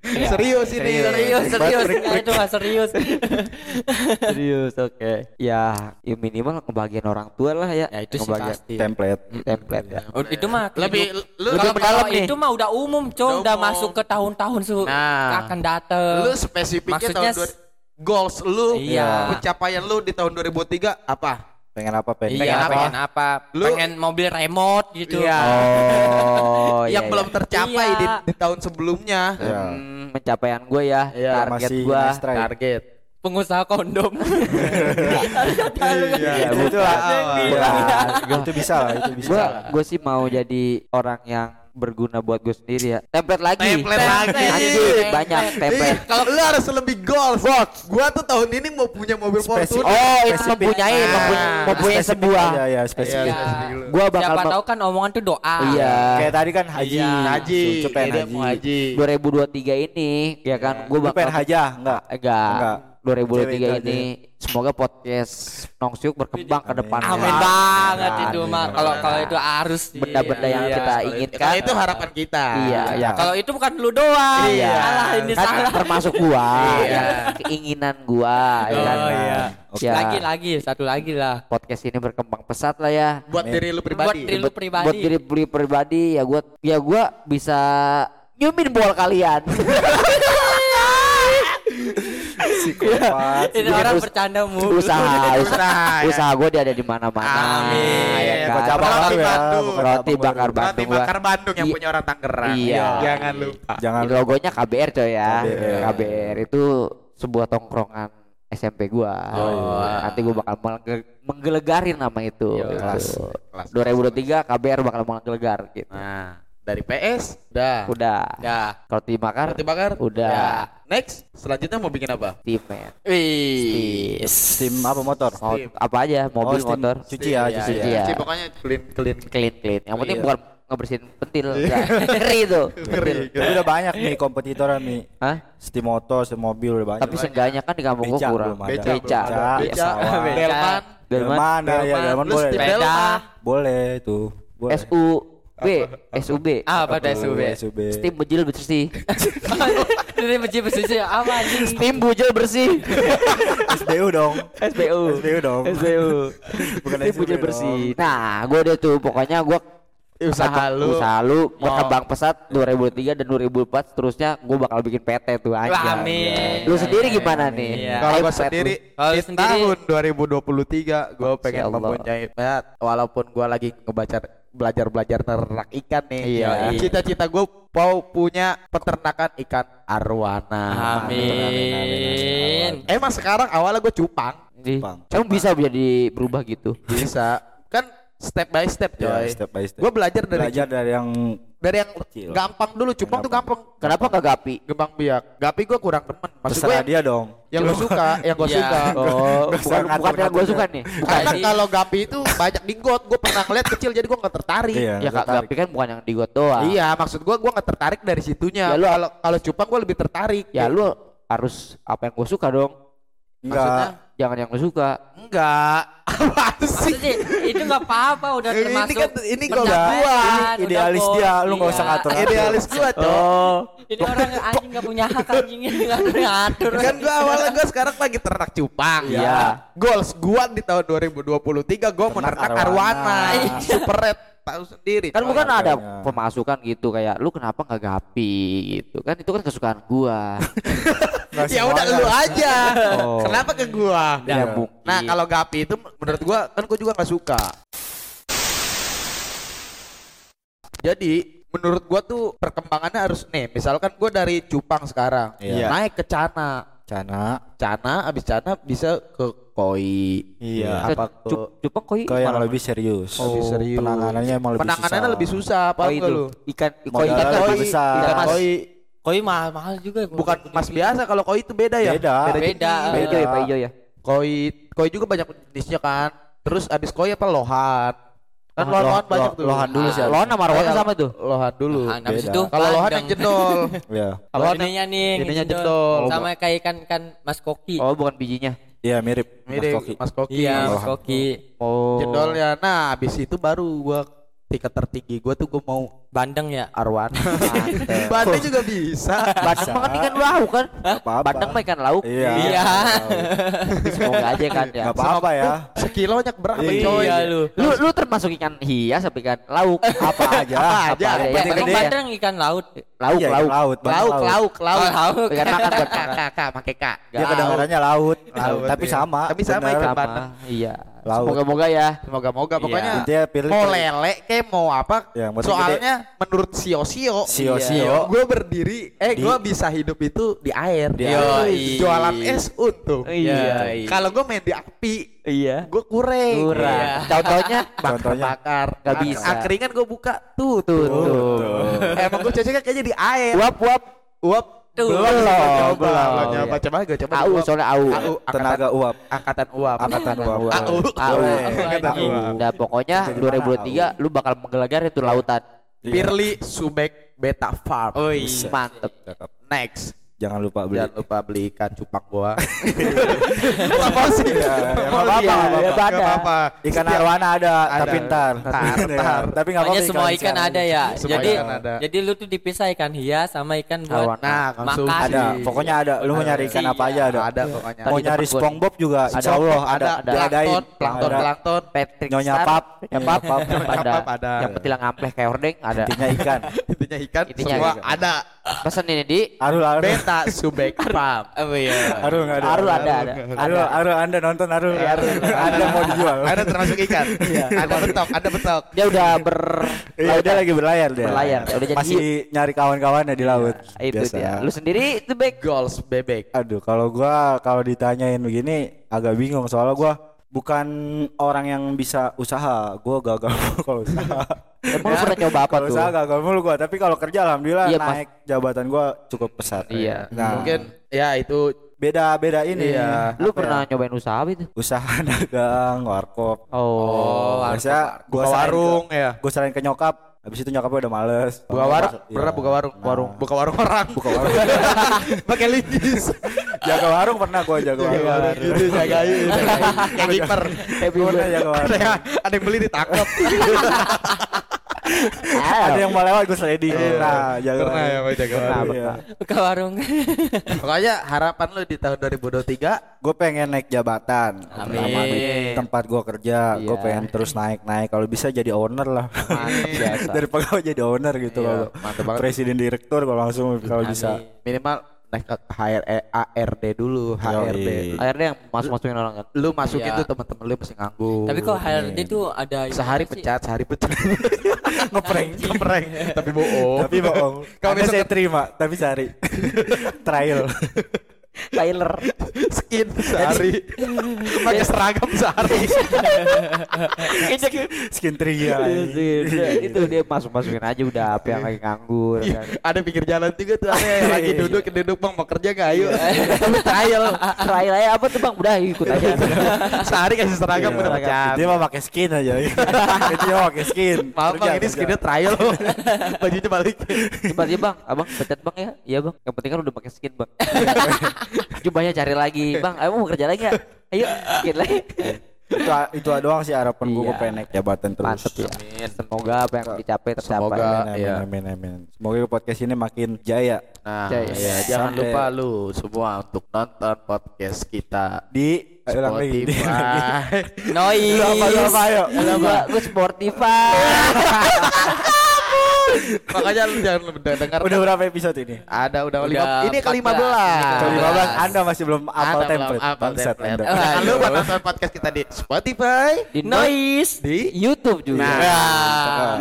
Speaker 3: Iya. Serius ini.
Speaker 2: Serius, serius.
Speaker 4: Prik,
Speaker 2: Nah, Itu mah serius.
Speaker 1: Serius, oke. Ya, ya minimal kebagian orang tua lah ya.
Speaker 2: Ya, itu sih
Speaker 1: Kebahagiaan
Speaker 2: pasti.
Speaker 4: Template.
Speaker 1: template ya.
Speaker 2: Oh, itu mah
Speaker 3: Lebih-
Speaker 2: hidup-
Speaker 3: lu-
Speaker 2: kalau
Speaker 1: lebih mendalam
Speaker 2: kalau
Speaker 1: nih.
Speaker 2: itu mah udah umum
Speaker 3: Udah
Speaker 2: cong udah
Speaker 3: umum.
Speaker 2: masuk ke tahun-tahun su
Speaker 3: Nah.
Speaker 2: akan dateng
Speaker 3: Lu spesifiknya
Speaker 2: Maksudnya
Speaker 3: tahun dua- goals lu,
Speaker 2: Iya.
Speaker 3: pencapaian lu di tahun 2003 apa?
Speaker 4: Pengen apa pengen?
Speaker 2: pengen
Speaker 3: Iya.
Speaker 2: apa pengen apa
Speaker 3: Lu-
Speaker 2: pengen mobil remote gitu
Speaker 1: Oh,
Speaker 3: yang
Speaker 1: iya,
Speaker 3: belum
Speaker 1: iya.
Speaker 3: tercapai
Speaker 2: Iya.
Speaker 3: di, di tahun sebelumnya.
Speaker 4: Iya.
Speaker 1: Hmm, pencapaian gue ya,
Speaker 3: Iya,
Speaker 1: target
Speaker 4: Masih
Speaker 1: gue.
Speaker 4: nice try.
Speaker 3: Target.
Speaker 2: pengusaha kondom
Speaker 4: Iya,
Speaker 1: bukan.
Speaker 4: itu lah.
Speaker 3: Iya.
Speaker 4: Bukan. Itu bisa lah, itu bisa.
Speaker 1: Gue gue sih mau jadi orang yang berguna buat gue sendiri ya. Template lagi.
Speaker 3: Template lagi.
Speaker 1: Anjir, banyak template.
Speaker 3: Iya, Kalau lu harus lebih goals. Gua tuh tahun ini mau punya mobil
Speaker 4: Spesifik.
Speaker 3: Fortuner.
Speaker 1: Oh, itu
Speaker 4: Spesifik.
Speaker 1: mempunyai,
Speaker 3: Ah.
Speaker 1: mempunyai, mempunyai
Speaker 4: Spesifik
Speaker 1: sebuah.
Speaker 4: aja, ya,
Speaker 3: Iya,
Speaker 4: spesifik.
Speaker 3: spesifik lu.
Speaker 1: Gua bakal
Speaker 2: siapa
Speaker 1: mau-
Speaker 2: tahu kan omongan tuh doa
Speaker 1: Iya.
Speaker 4: Kayak tadi kan haji.
Speaker 3: Iya, haji.
Speaker 4: Cucu pengen
Speaker 3: Iya, dia mau
Speaker 4: haji.
Speaker 1: 2023 ini ya kan gue
Speaker 4: Lu
Speaker 1: bakal
Speaker 4: pengen haja enggak?
Speaker 1: enggak
Speaker 4: Enggak. Cewek itu
Speaker 1: 2023
Speaker 4: aja.
Speaker 1: ini semoga podcast Nongsiuk berkembang ke
Speaker 4: Amin.
Speaker 1: depannya.
Speaker 2: amin banget
Speaker 1: Iya. Amin.
Speaker 2: itu mah kalau kalau itu harus sih. iya.
Speaker 1: Benda-benda yang kita
Speaker 3: Kalau itu-
Speaker 1: inginkan.
Speaker 3: Iya, Kalau itu harapan kita.
Speaker 1: Iya, iya.
Speaker 2: kalau itu bukan lu doang
Speaker 3: Iya.
Speaker 2: salah ini
Speaker 1: Kan
Speaker 2: salah
Speaker 1: termasuk gua,
Speaker 3: Iya.
Speaker 1: ya, keinginan gua, ya kan.
Speaker 2: Oh, iya.
Speaker 1: Ya,
Speaker 2: lagi lagi satu lagi lah
Speaker 1: podcast ini berkembang pesat lah ya.
Speaker 3: Buat
Speaker 4: Amin.
Speaker 3: diri lu
Speaker 2: buat
Speaker 3: pribadi.
Speaker 2: diri lu pribadi
Speaker 1: Buat diri diri pribadi ya gua ya gua bisa nyumin bol kalian.
Speaker 4: Psikopat.
Speaker 2: ini
Speaker 1: bikin
Speaker 2: orang
Speaker 1: us-
Speaker 2: bercanda mulu
Speaker 1: usaha, usaha,
Speaker 3: Usaha, ya.
Speaker 1: usaha gua dia ada di mana-mana.
Speaker 3: Amin.
Speaker 1: ya kan?
Speaker 4: Buat cabang
Speaker 3: Roti
Speaker 4: baru ya.
Speaker 3: Bandung.
Speaker 4: bukan
Speaker 1: Roti
Speaker 4: cabang
Speaker 1: bakar
Speaker 4: baru.
Speaker 3: Roti
Speaker 1: Bandung.
Speaker 3: bakar
Speaker 1: gua.
Speaker 3: Bandung yang
Speaker 1: Iya.
Speaker 3: punya orang Tangerang.
Speaker 1: Iya.
Speaker 3: Jangan lupa.
Speaker 4: Jangan
Speaker 1: Ini logonya KBR coy ya.
Speaker 4: KBR.
Speaker 1: KBR, itu sebuah tongkrongan SMP gua.
Speaker 3: Oh, iya.
Speaker 1: Nanti gua bakal mengge- menggelegarin nama itu.
Speaker 3: Yo,
Speaker 1: gitu.
Speaker 4: kelas.
Speaker 3: Kelas.
Speaker 1: 2023 KBR bakal menggelegar gitu.
Speaker 3: Nah, Dari PS udah.
Speaker 1: udah
Speaker 3: Udah.
Speaker 1: kalau tim bakar
Speaker 3: Roti bakar Iya. Ya.
Speaker 1: Udah.
Speaker 3: Next, selanjutnya mau bikin apa?
Speaker 1: tim ya. men
Speaker 3: Wih.
Speaker 4: Steam apa motor?
Speaker 1: Mau
Speaker 3: Steam.
Speaker 1: apa aja mobil
Speaker 4: steam.
Speaker 1: motor
Speaker 4: Cuci ya,
Speaker 3: Iya,
Speaker 4: cuci
Speaker 1: Oh, iya.
Speaker 4: ya.
Speaker 1: Iya.
Speaker 3: Cuci, pokoknya clean clean.
Speaker 1: clean clean yang penting
Speaker 3: Iya.
Speaker 1: bukan ngebersihin pentil Nah, ngeri itu pentil
Speaker 4: Tapi Ya udah banyak nih kompetitornya nih.
Speaker 1: Hah?
Speaker 4: Steam motor, steam mobil udah banyak.
Speaker 1: tapi seenggaknya kan di kampung gua
Speaker 4: Beca
Speaker 1: kurang
Speaker 4: belum ada.
Speaker 3: Beca,
Speaker 1: beca
Speaker 4: belum ada.
Speaker 1: Iya.
Speaker 3: Beca,
Speaker 4: pesawat.
Speaker 3: Delman,
Speaker 1: dari
Speaker 4: Delman,
Speaker 1: mana
Speaker 4: ya, ya, Delman
Speaker 3: Lu
Speaker 4: boleh.
Speaker 3: steam Delman.
Speaker 4: Boleh tuh. Boleh.
Speaker 1: SUB SUB
Speaker 2: Apa dah
Speaker 4: Tuh,
Speaker 2: SUB?
Speaker 4: SUB.
Speaker 1: Ah, Steam bujil bersih
Speaker 2: Ini benci benci apa anjing?
Speaker 1: Steam bujil bersih
Speaker 4: SBU dong.
Speaker 1: SBU
Speaker 4: SBU dong.
Speaker 1: SBU
Speaker 4: Bukan
Speaker 1: Steam
Speaker 4: SUB
Speaker 1: bujil
Speaker 4: dong.
Speaker 1: bersih Nah gue deh tuh pokoknya gue
Speaker 3: Usaha lu.
Speaker 1: Usaha lu Berkembang pesat 2003 dan 2004 Seterusnya gue bakal bikin PT tuh
Speaker 2: Wah,
Speaker 1: aja
Speaker 2: amin.
Speaker 1: Lu sendiri gimana nih?
Speaker 2: Iya.
Speaker 3: Ya, Kalau gua
Speaker 1: iPad lu.
Speaker 3: sendiri
Speaker 2: Kalau
Speaker 3: di
Speaker 2: sendiri-
Speaker 3: tahun 2023 gua pengen
Speaker 1: Allah.
Speaker 3: mempunyai pet walaupun gua lagi ngebaca belajar-belajar nerak ikan nih.
Speaker 1: Iya.
Speaker 3: Yoi. Cita-cita gua mau punya peternakan ikan arwana.
Speaker 4: amin, amin, amin,
Speaker 2: Amin.
Speaker 3: Emang sekarang awalnya gua cupang
Speaker 1: Jadi,
Speaker 4: Bang.
Speaker 1: Emang bisa jadi berubah gitu?
Speaker 3: bisa kan step by step coy.
Speaker 4: Ya, step by step.
Speaker 3: Gua belajar dari
Speaker 4: Belajar dari yang
Speaker 3: dari yang
Speaker 4: Kecil.
Speaker 3: gampang dulu cupang tuh gampang.
Speaker 1: Kenapa nggak gapi?
Speaker 3: Gebang biak. Gapi gua kurang demen. Maksud
Speaker 4: terserah
Speaker 3: gua
Speaker 4: dia dong.
Speaker 3: yang gua suka, yang gua
Speaker 2: Iya.
Speaker 3: suka.
Speaker 1: Oh,
Speaker 4: Nggak
Speaker 1: bukan,
Speaker 4: usah
Speaker 1: bukan yang gue
Speaker 4: ngatur-ngatur
Speaker 1: suka
Speaker 4: ya.
Speaker 1: nih.
Speaker 3: Karena
Speaker 2: Jadi-
Speaker 3: kalau gapi itu banyak di got, gue pernah ngeliat kecil jadi gue nggak tertarik.
Speaker 4: Iya.
Speaker 1: Ya
Speaker 4: nggak
Speaker 1: kak
Speaker 4: tarik.
Speaker 1: gapi kan bukan yang di got doang.
Speaker 3: Iya, maksud gue gue nggak tertarik dari situnya.
Speaker 1: Ya, lu-
Speaker 3: kalau kalau cupang gue lebih tertarik.
Speaker 1: Ya lu harus apa yang gue suka dong.
Speaker 3: Maksudnya,
Speaker 4: Enggak.
Speaker 1: Jangan yang gue suka.
Speaker 3: enggak. Apa sih?
Speaker 2: Maksudnya itu nggak apa-apa udah
Speaker 3: Ini
Speaker 2: termasuk
Speaker 3: kan- ini gua udah-
Speaker 2: pencapaian,
Speaker 4: Ini
Speaker 2: udah
Speaker 4: idealis
Speaker 2: bos.
Speaker 4: dia, lu nggak usah
Speaker 2: Iya.
Speaker 4: ngatur.
Speaker 3: Idealis gue
Speaker 1: Oh.
Speaker 3: tuh.
Speaker 2: Ini orang anjing nggak punya hak anjing ini nggak ada yang ngatur.
Speaker 3: Kan gue awalnya gue sekarang lagi ternak cupang.
Speaker 1: Iya.
Speaker 3: Goals gue di tahun 2023 gue mau
Speaker 4: Ternak
Speaker 3: ternak
Speaker 4: arwana.
Speaker 3: arwana. Super red tahu sendiri.
Speaker 1: Iya. Kan
Speaker 3: coy.
Speaker 1: bukan ada
Speaker 4: makanya.
Speaker 1: pemasukan gitu kayak lu kenapa nggak gapi gitu kan itu kan kesukaan gua.
Speaker 4: Nggak
Speaker 3: Ya udah
Speaker 4: semuanya.
Speaker 3: lu aja.
Speaker 1: Oh.
Speaker 3: Kenapa ke gua?
Speaker 4: Ya,
Speaker 1: mungkin.
Speaker 3: Nah, kalau Gapi itu menurut gua kan gua juga nggak suka. Jadi, menurut gua tuh perkembangannya harus nih, misalkan gua dari Cupang sekarang,
Speaker 4: Iya.
Speaker 3: naik ke Cana.
Speaker 4: Cana.
Speaker 3: Cana abis Cana bisa ke Koi.
Speaker 4: Iya.
Speaker 1: Ke
Speaker 4: Apa ke
Speaker 1: Cu- Cupang koi
Speaker 4: ke yang
Speaker 1: malah-
Speaker 4: lebih serius? Oh,
Speaker 3: Lebih serius.
Speaker 4: Penanganannya emang lebih
Speaker 3: Penanganannya
Speaker 4: susah.
Speaker 3: lebih susah, paham
Speaker 1: koi
Speaker 3: nggak
Speaker 1: itu.
Speaker 3: lu?
Speaker 1: Ikan koi
Speaker 4: Modalnya
Speaker 1: ikan
Speaker 4: lebih
Speaker 1: koi.
Speaker 4: besar.
Speaker 1: Ikan mas.
Speaker 3: Koi
Speaker 2: Koi mahal mahal juga. gua.
Speaker 3: bukan mas biasa kalau koi itu beda ya.
Speaker 4: Beda.
Speaker 2: Beda.
Speaker 1: Pak Ijo ya, Pak Ijo ya.
Speaker 3: Koi, koi juga banyak jenisnya kan. Terus abis koi apa lohan? Kan lohan,
Speaker 4: Lohan, lohan,
Speaker 3: lohan banyak tuh. Ah,
Speaker 4: lohan dulu sih. Iya,
Speaker 1: Lohan sama arwana sama tuh.
Speaker 3: Lohan dulu.
Speaker 2: Nah, habis
Speaker 4: Beda.
Speaker 2: itu
Speaker 3: Kalau lohan yang
Speaker 2: panjang.
Speaker 3: jendol.
Speaker 4: Iya.
Speaker 3: Kalau
Speaker 2: Kalau
Speaker 3: lohan yang
Speaker 2: ininya nih, yang
Speaker 3: ininya
Speaker 2: jendol.
Speaker 3: jendol.
Speaker 2: sama kayak ikan kan Mas Koki.
Speaker 1: Oh bukan bijinya.
Speaker 4: Iya, mirip. Mas
Speaker 3: mirip
Speaker 4: Koki.
Speaker 3: Mas Koki.
Speaker 2: Iya,
Speaker 4: Mas
Speaker 2: Mas Koki.
Speaker 1: Oh.
Speaker 3: Jendolnya. Nah, abis itu baru gua tiket tertinggi gua tuh gua mau
Speaker 2: Bandeng ya.
Speaker 1: Oh,
Speaker 3: arwan.
Speaker 4: Nah, iya. Eh.
Speaker 3: Bandeng juga bisa.
Speaker 1: Bandeng makan ikan lauk kan?
Speaker 4: Apa-apa.
Speaker 1: Bandeng mah ikan lauk.
Speaker 4: Iya.
Speaker 2: Iya.
Speaker 1: Semoga aja kan ya.
Speaker 4: Enggak apa-apa ya.
Speaker 3: Sekilo banyak berapa
Speaker 4: Iya,
Speaker 3: coy?
Speaker 2: Iya lu.
Speaker 1: Lu lu termasuk ikan hias apa ikan lauk?
Speaker 4: Apa aja?
Speaker 1: Apa aja?
Speaker 4: Yang
Speaker 1: Yang
Speaker 4: penting
Speaker 2: Bandeng
Speaker 1: gede ya?
Speaker 2: bandeng ikan laut.
Speaker 1: Lauk
Speaker 4: Iya,
Speaker 1: lauk. Iya,
Speaker 4: laut,
Speaker 3: Lauk,
Speaker 4: Bang,
Speaker 3: lauk, Oh, lauk.
Speaker 2: Lauk.
Speaker 1: Ikan makan buat makan.
Speaker 3: Kakak, pakai kak.
Speaker 4: Dia kedengarannya laut,
Speaker 3: Laut,
Speaker 4: tapi
Speaker 3: iya.
Speaker 4: sama.
Speaker 3: Tapi sama
Speaker 4: bener.
Speaker 3: ikan.
Speaker 1: Sama,
Speaker 3: Bandeng.
Speaker 1: Iya.
Speaker 4: Laut.
Speaker 1: Semoga-moga ya.
Speaker 3: Moga-moga pokoknya
Speaker 4: Intinya pilih
Speaker 3: mau
Speaker 4: pilih.
Speaker 3: lele kayak mau apa
Speaker 4: Ya, yang penting
Speaker 3: soalnya menurut sio sio
Speaker 4: Sio Sio.
Speaker 3: gue berdiri eh
Speaker 4: Di-
Speaker 3: gue bisa hidup itu di air
Speaker 4: Di
Speaker 3: Yoi.
Speaker 2: air.
Speaker 3: jualan es untung
Speaker 1: Iya.
Speaker 3: kalau gue main di api
Speaker 1: Iya.
Speaker 3: gue kurang
Speaker 1: Kurang. Iya. Contohnya
Speaker 3: bakar
Speaker 4: Contohnya?
Speaker 3: bakar
Speaker 1: Nggak bisa.
Speaker 3: angkringan gue buka tuh tuh,
Speaker 1: tuh.
Speaker 3: tuh. emang gue cocoknya kayaknya di air
Speaker 1: Uap uap.
Speaker 3: uap
Speaker 2: Tuh.
Speaker 3: belum belum
Speaker 1: belum.
Speaker 3: belum nyoba
Speaker 1: Iya.
Speaker 3: coba gue coba di
Speaker 1: Au
Speaker 3: uap.
Speaker 1: soalnya au.
Speaker 3: Au, angkatan
Speaker 4: Tenaga uap.
Speaker 3: angkatan uap
Speaker 4: Angkatan uap.
Speaker 3: Au.
Speaker 1: Au.
Speaker 4: Boleh.
Speaker 3: Angkatan uap
Speaker 4: Au.
Speaker 3: Iya.
Speaker 1: Nah pokoknya
Speaker 4: Jadi
Speaker 1: 2003 lu bakal menggelegar itu lautan.
Speaker 4: Iya.
Speaker 3: Pirli Subek Beta Farm.
Speaker 4: Buset.
Speaker 1: Mantep.
Speaker 4: Cakep.
Speaker 3: Next.
Speaker 4: Jangan lupa beli.
Speaker 3: Jangan lupa beli ikan cupang gua. Eh, Apa sih?
Speaker 4: Iya, ya, nggak apa-apa, nggak
Speaker 1: Iya,
Speaker 4: apa-apa.
Speaker 1: ada.
Speaker 4: Ikan arwana ada,
Speaker 3: Ada.
Speaker 4: tapi ntar.
Speaker 3: Ntar,
Speaker 4: Ya,
Speaker 3: ntar.
Speaker 4: Tapi nggak apa-apa.
Speaker 2: Pokoknya semua ikan
Speaker 4: sekarang.
Speaker 2: ada ya.
Speaker 3: Semua
Speaker 2: jadi
Speaker 3: ikan ada.
Speaker 2: jadi lu tuh dipisah ikan hias sama ikan buat
Speaker 1: Arwana,
Speaker 3: Nah, konsumsi. Iya,
Speaker 2: makan.
Speaker 4: Ada, pokoknya ada. Lu mau nyari ikan apa aja ada.
Speaker 3: Ada pokoknya.
Speaker 1: Tadi
Speaker 4: Mau
Speaker 1: tempat
Speaker 4: nyari
Speaker 1: gua nih.
Speaker 4: SpongeBob juga,
Speaker 1: Ada.
Speaker 4: insya Allah ada.
Speaker 1: Ada.
Speaker 4: Diadain.
Speaker 3: Plankton, plankton,
Speaker 4: Ada.
Speaker 3: plankton.
Speaker 1: Patrick
Speaker 4: Nyonya
Speaker 1: Star,
Speaker 4: Pap.
Speaker 1: Nyonya
Speaker 4: Nyonya
Speaker 1: Pap,
Speaker 4: Pap.
Speaker 1: ada.
Speaker 3: Pap ada.
Speaker 1: Yang petilang ampleh kayak ordeng ada.
Speaker 4: Intinya ikan.
Speaker 3: Intinya ikan
Speaker 1: Intinya
Speaker 3: semua
Speaker 1: ikan.
Speaker 3: ada.
Speaker 1: Pesan ini di
Speaker 4: Arul, Arul.
Speaker 3: Beta Subek Farm. Oh
Speaker 4: ya?
Speaker 3: iya.
Speaker 4: Arul nggak ada.
Speaker 1: Arul ada ada.
Speaker 4: Arul, Arul, Anda nonton Arul. Arul. Anda mau dijual.
Speaker 3: Ada termasuk ikan. Ada betok, ada betok.
Speaker 1: Dia udah ber Nah,
Speaker 4: Iya, dia lagi berlayar dia.
Speaker 1: Berlayar, udah jadi Iya,
Speaker 4: Masih nyari kawan-kawannya di laut.
Speaker 1: itu
Speaker 4: Biasa.
Speaker 1: dia. Lu sendiri itu baik.
Speaker 3: Goals bebek.
Speaker 4: Aduh, kalau gua kalau ditanyain begini agak bingung soalnya gua bukan orang yang bisa usaha. Gue gagal mulu kalau usaha.
Speaker 1: Emang lu pernah coba apa
Speaker 4: kalau
Speaker 1: tuh?
Speaker 4: usaha gagal mulu gue. Tapi kalau kerja alhamdulillah
Speaker 1: Iya, Mas.
Speaker 4: naik jabatan gue cukup pesat.
Speaker 1: Iya.
Speaker 4: Nah,
Speaker 3: Mungkin ya itu
Speaker 4: beda beda ini.
Speaker 3: Iya.
Speaker 4: Apa
Speaker 1: Lu
Speaker 4: ya?
Speaker 1: pernah nyobain usaha apa itu?
Speaker 4: usaha dagang warkop.
Speaker 1: Oh.
Speaker 4: Biasanya gue
Speaker 3: buka warung ya.
Speaker 4: Gue saranin ke nyokap. Habis itu nyokapnya udah males.
Speaker 3: Buka warung,
Speaker 4: Iya.
Speaker 3: pernah buka warung,
Speaker 4: Nah.
Speaker 3: warung, buka warung orang, buka warung, pakai linjis,
Speaker 4: jaga warung pernah gue
Speaker 3: jaga
Speaker 4: jaga warung.
Speaker 3: warung, gitu, jagain, jagain, kayak kiper, ya,
Speaker 1: Happy
Speaker 4: Gua pernah
Speaker 1: birthday.
Speaker 4: jaga warung.
Speaker 3: ada yang ada yang beli ditangkap,
Speaker 4: Ada yang mau lewat gue sliding.
Speaker 3: Iya.
Speaker 4: Nah, jaga
Speaker 3: pernah ya
Speaker 4: warung.
Speaker 3: mau jaga warung.
Speaker 4: Iya.
Speaker 2: ke warung
Speaker 3: Oh, Pokoknya harapan lu di tahun 2023
Speaker 4: Gue pengen naik jabatan pertama di tempat gue kerja. Gue
Speaker 1: Iya.
Speaker 4: pengen terus naik naik. Kalau bisa jadi owner lah.
Speaker 1: Mantap biasa.
Speaker 4: Dari pegawai jadi owner gitu
Speaker 3: Iya,
Speaker 4: loh.
Speaker 3: mantep banget.
Speaker 4: Presiden direktur kalau langsung kalau bisa.
Speaker 3: minimal naik ke E, HRE ARD dulu, HRD.
Speaker 1: Akhirnya yang masuk-masukin orang kan.
Speaker 3: Lu masukin
Speaker 2: Iya.
Speaker 3: tuh teman-teman lu pasti nganggur.
Speaker 2: tapi kok HRD tuh ada
Speaker 3: sehari
Speaker 2: ini sih.
Speaker 3: pecat, sehari pecat. ngeprank, ngeprank, tapi bohong.
Speaker 4: Tapi bohong.
Speaker 3: Oh. Kalau
Speaker 4: Anda
Speaker 3: besok
Speaker 4: saya terima, tapi cari trial.
Speaker 1: Tyler.
Speaker 3: skin sehari, pakai seragam sehari.
Speaker 1: Injek.
Speaker 4: Skin trial.
Speaker 1: Iya, itu dia masuk-masukin aja udah apa yang lagi nganggur
Speaker 4: Iya.
Speaker 1: kan.
Speaker 3: ada pinggir jalan juga tuh ada yang lagi duduk duduk bang mau kerja gak ayo Lu trial
Speaker 1: Trial aja apa tuh Bang? Udah ikut aja.
Speaker 3: sehari kasih seragam
Speaker 4: Iya.
Speaker 3: udah pecat
Speaker 4: Dia mah pakai skin aja. Itu dia pakai skin.
Speaker 3: maaf
Speaker 4: Kerja,
Speaker 3: bang ini
Speaker 4: kerja.
Speaker 3: skinnya trial bajunya balik
Speaker 1: Coba aja Bang, Abang pecat Bang ya. Iya Bang. Yang penting kan udah pakai skin Bang. Cobanya cari lagi, Bang. Abang mau kerja lagi nggak? Ayo, skin lagi.
Speaker 4: itu itu doang sih harapan gue
Speaker 1: Iya.
Speaker 4: gue pengen naik jabatan terus.
Speaker 1: Mantep ya. Semoga apa yang dicapai tercapai.
Speaker 3: Semoga.
Speaker 4: Amin, amin,
Speaker 3: Iya.
Speaker 4: amin, amin. Semoga podcast ini makin jaya
Speaker 3: nah
Speaker 1: Jaya.
Speaker 3: ya, jangan
Speaker 4: Sampai-
Speaker 3: lupa lu semua untuk nonton podcast kita
Speaker 4: di eh, ulang lagi. Di-
Speaker 3: Spotify
Speaker 2: noise
Speaker 4: Lu apa, lu apa, ayo.
Speaker 1: Halo, Bang. Gue Sportify.
Speaker 3: makanya lu jangan lupa dengar
Speaker 4: Udah berapa episode ini?
Speaker 3: ada udah,
Speaker 2: Udah
Speaker 3: lima ini ke
Speaker 2: 14.
Speaker 3: lima belas
Speaker 2: Ini
Speaker 4: Ke
Speaker 2: Ah.
Speaker 4: 15 Anda masih belum hafal template. Bangsat Anda.
Speaker 3: Jangan lupa nonton podcast kita di Spotify,
Speaker 1: Di Iya.
Speaker 2: noise
Speaker 3: di Nah,
Speaker 1: YouTube juga.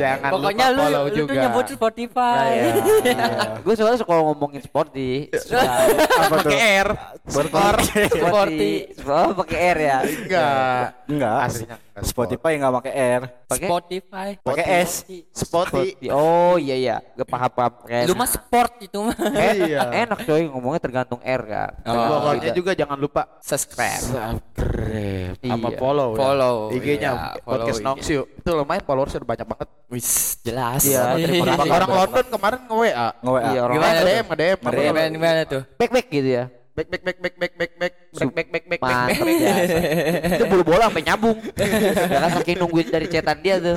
Speaker 3: jangan
Speaker 2: pokoknya lu
Speaker 3: follow
Speaker 2: lu tuh nyebut Spotify
Speaker 4: Iya.
Speaker 1: gue soalnya suka ngomongin sport di
Speaker 4: Apa tuh?
Speaker 3: pakai R skor
Speaker 1: sporty oh pakai R ya
Speaker 3: enggak
Speaker 4: Enggak.
Speaker 3: aslinya enggak.
Speaker 4: Spotify enggak pakai R,
Speaker 1: pakai
Speaker 2: Spotify
Speaker 4: pakai S.
Speaker 3: Spoti
Speaker 1: Sporty. oh iya iya gue paham paham
Speaker 2: lu mah sport itu mah
Speaker 3: iya
Speaker 1: enak coy ngomongnya tergantung R kan
Speaker 3: Nah, pokoknya juga jangan lupa
Speaker 2: subscribe
Speaker 3: subscribe sama
Speaker 1: Iya.
Speaker 3: follow ya.
Speaker 2: Follow,
Speaker 3: IG-nya
Speaker 2: iya, follow
Speaker 3: podcast
Speaker 2: IG.
Speaker 3: Nongsi yuk. itu lumayan followers udah banyak banget
Speaker 2: wis jelas
Speaker 1: Iya, terima kasih.
Speaker 3: orang, orang London kemarin nge WA
Speaker 4: Nge-WA.
Speaker 1: Iya, orang
Speaker 3: Gimana
Speaker 2: London.
Speaker 3: DM DM
Speaker 2: Gimana, gimana, gimana tuh
Speaker 1: back back gitu ya
Speaker 3: back back back back back back back back back back back back
Speaker 1: mantap biasa itu bulu bola sampai nyambung ya kan saking nungguin dari cetan dia tuh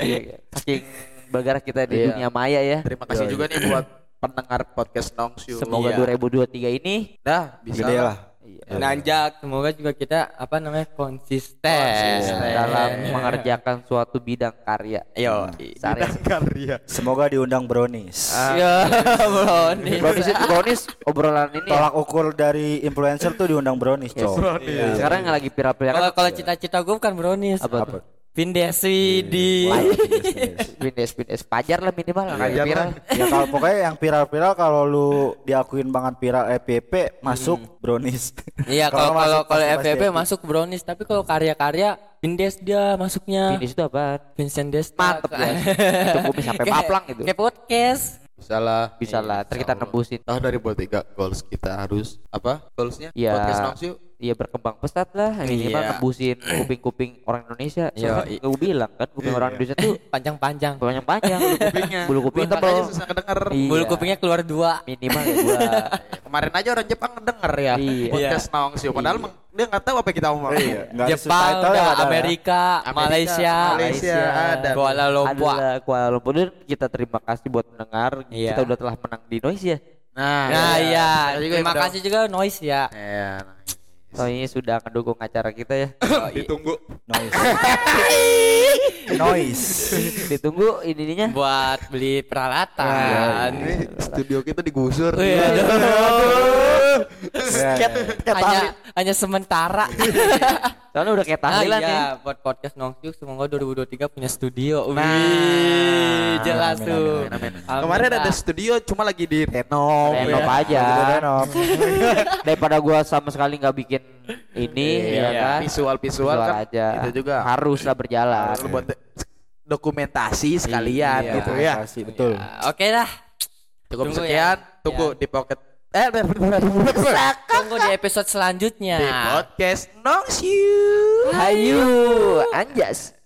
Speaker 1: Iya, iya. saking bergerak kita di
Speaker 3: Iya.
Speaker 1: dunia maya ya
Speaker 3: terima kasih juga nih buat pendengar podcast Nongsi yuk.
Speaker 1: semoga
Speaker 3: Iya.
Speaker 1: 2023 ini
Speaker 3: dah bisa
Speaker 4: Gede ya, lah.
Speaker 2: nanjak semoga juga kita apa namanya konsisten,
Speaker 3: Eh.
Speaker 2: Iya.
Speaker 1: dalam mengerjakan suatu bidang karya
Speaker 2: yo
Speaker 1: Sari.
Speaker 3: karya
Speaker 4: Semoga diundang Brownies.
Speaker 2: yo brownies
Speaker 1: Brownies itu brownies obrolan ini ya.
Speaker 4: Tolak ukur dari influencer tuh diundang Brownies, cowok. Iya.
Speaker 1: Sekarang yang lagi viral-viral
Speaker 2: kalau
Speaker 1: kan
Speaker 2: kalau cita-cita gue bukan brownies
Speaker 1: apa tuh?
Speaker 2: Pindesi di
Speaker 4: iya,
Speaker 1: Bindes, bindes. Pajar lah minimal lah lagi
Speaker 3: Pajar
Speaker 1: viral.
Speaker 3: lah.
Speaker 4: ya kalau pokoknya yang viral-viral kalau lu diakuin banget viral FPP masuk brownies.
Speaker 2: Hmm. Iya kalau kalau
Speaker 4: masuk E
Speaker 2: kalau
Speaker 4: pasti-
Speaker 2: FVP
Speaker 4: pasti.
Speaker 2: masuk brownies tapi kalau karya-karya Vindes dia masuknya
Speaker 1: Bindes itu apaan?
Speaker 2: Vincent Desta
Speaker 1: Mantep ya. Itu kumis sampai
Speaker 2: Kayak-
Speaker 1: paplang gitu.
Speaker 2: Kayak podcast
Speaker 3: bisa lah
Speaker 1: Bisa
Speaker 2: Iya,
Speaker 1: lah, ntar kita nembusin.
Speaker 3: tahun 2003 goals kita harus apa goalsnya
Speaker 1: Iya.
Speaker 3: podcast Nongsi yuk.
Speaker 1: Iya berkembang pesat lah minimal
Speaker 2: Iya.
Speaker 1: nembusin kuping-kuping orang Indonesia.
Speaker 2: Iya,
Speaker 1: Soalnya kan gue bilang kan kuping orang Indonesia tuh
Speaker 2: Panjang-panjang
Speaker 1: panjang-panjang bulu kupingnya. Bulu kuping tebal.
Speaker 3: Iya. makanya susah kedenger
Speaker 1: Iya.
Speaker 2: Bulu kupingnya keluar dua
Speaker 1: Minimal ya gua.
Speaker 3: kemarin aja orang Jepang ngedenger ya
Speaker 1: Iya.
Speaker 3: podcast Nongsi yuk. padahal emang dia nggak tahu apa yang kita omong
Speaker 4: Iya, nggak ada
Speaker 2: Jepang,
Speaker 4: subtitle ya,
Speaker 2: udah,
Speaker 4: nggak ada ya.
Speaker 2: Amerika,
Speaker 3: Amerika,
Speaker 2: Malaysia,
Speaker 3: Malaysia, ada.
Speaker 2: Kuala Lumpur
Speaker 1: Adalah Kuala Lumpur Dan kita terima kasih buat mendengar.
Speaker 2: Iya.
Speaker 1: Kita udah telah menang di noise ya.
Speaker 3: nah,
Speaker 2: Nah iya
Speaker 3: Makasih juga
Speaker 2: Terima
Speaker 3: yang udah-
Speaker 2: kasih juga Noise ya
Speaker 3: Iya, nah.
Speaker 1: Soalnya sudah mendukung acara kita ya.
Speaker 3: ditunggu
Speaker 4: noise. noise.
Speaker 1: Ditunggu ininya.
Speaker 2: Buat beli
Speaker 3: Iya,
Speaker 2: peralatan
Speaker 3: Nah, ini studio kita digusur
Speaker 2: Iya.
Speaker 4: Ya, ya.
Speaker 2: Hanya, hanya sementara
Speaker 1: Soalnya udah kayak
Speaker 2: Ah,
Speaker 1: tahlilan ya.
Speaker 2: iya, buat podcast Nongsyuk semoga 2023 punya studio. Wih, jelas tuh.
Speaker 3: kemarin ada studio cuma lagi di renov ya.
Speaker 1: Renov
Speaker 2: iya.
Speaker 1: aja.
Speaker 4: Gitu, Renov.
Speaker 1: Daripada gua sama sekali nggak bikin ini ya
Speaker 3: Iya,
Speaker 1: kan
Speaker 3: visual visual
Speaker 1: Visual
Speaker 3: kan
Speaker 1: aja
Speaker 3: itu juga
Speaker 1: harus lah berjalan
Speaker 3: harus buat dokumentasi sekalian
Speaker 2: Iya.
Speaker 3: gitu ya.
Speaker 4: Pasti, betul.
Speaker 2: Ah, Oke dah,
Speaker 3: Cukup
Speaker 2: Tunggu
Speaker 3: sekian,
Speaker 2: ya.
Speaker 3: tunggu
Speaker 2: Ya.
Speaker 3: di pocket eh di podcast
Speaker 2: tunggu di episode selanjutnya.
Speaker 3: di podcast Nongsiu.
Speaker 1: hayu anjas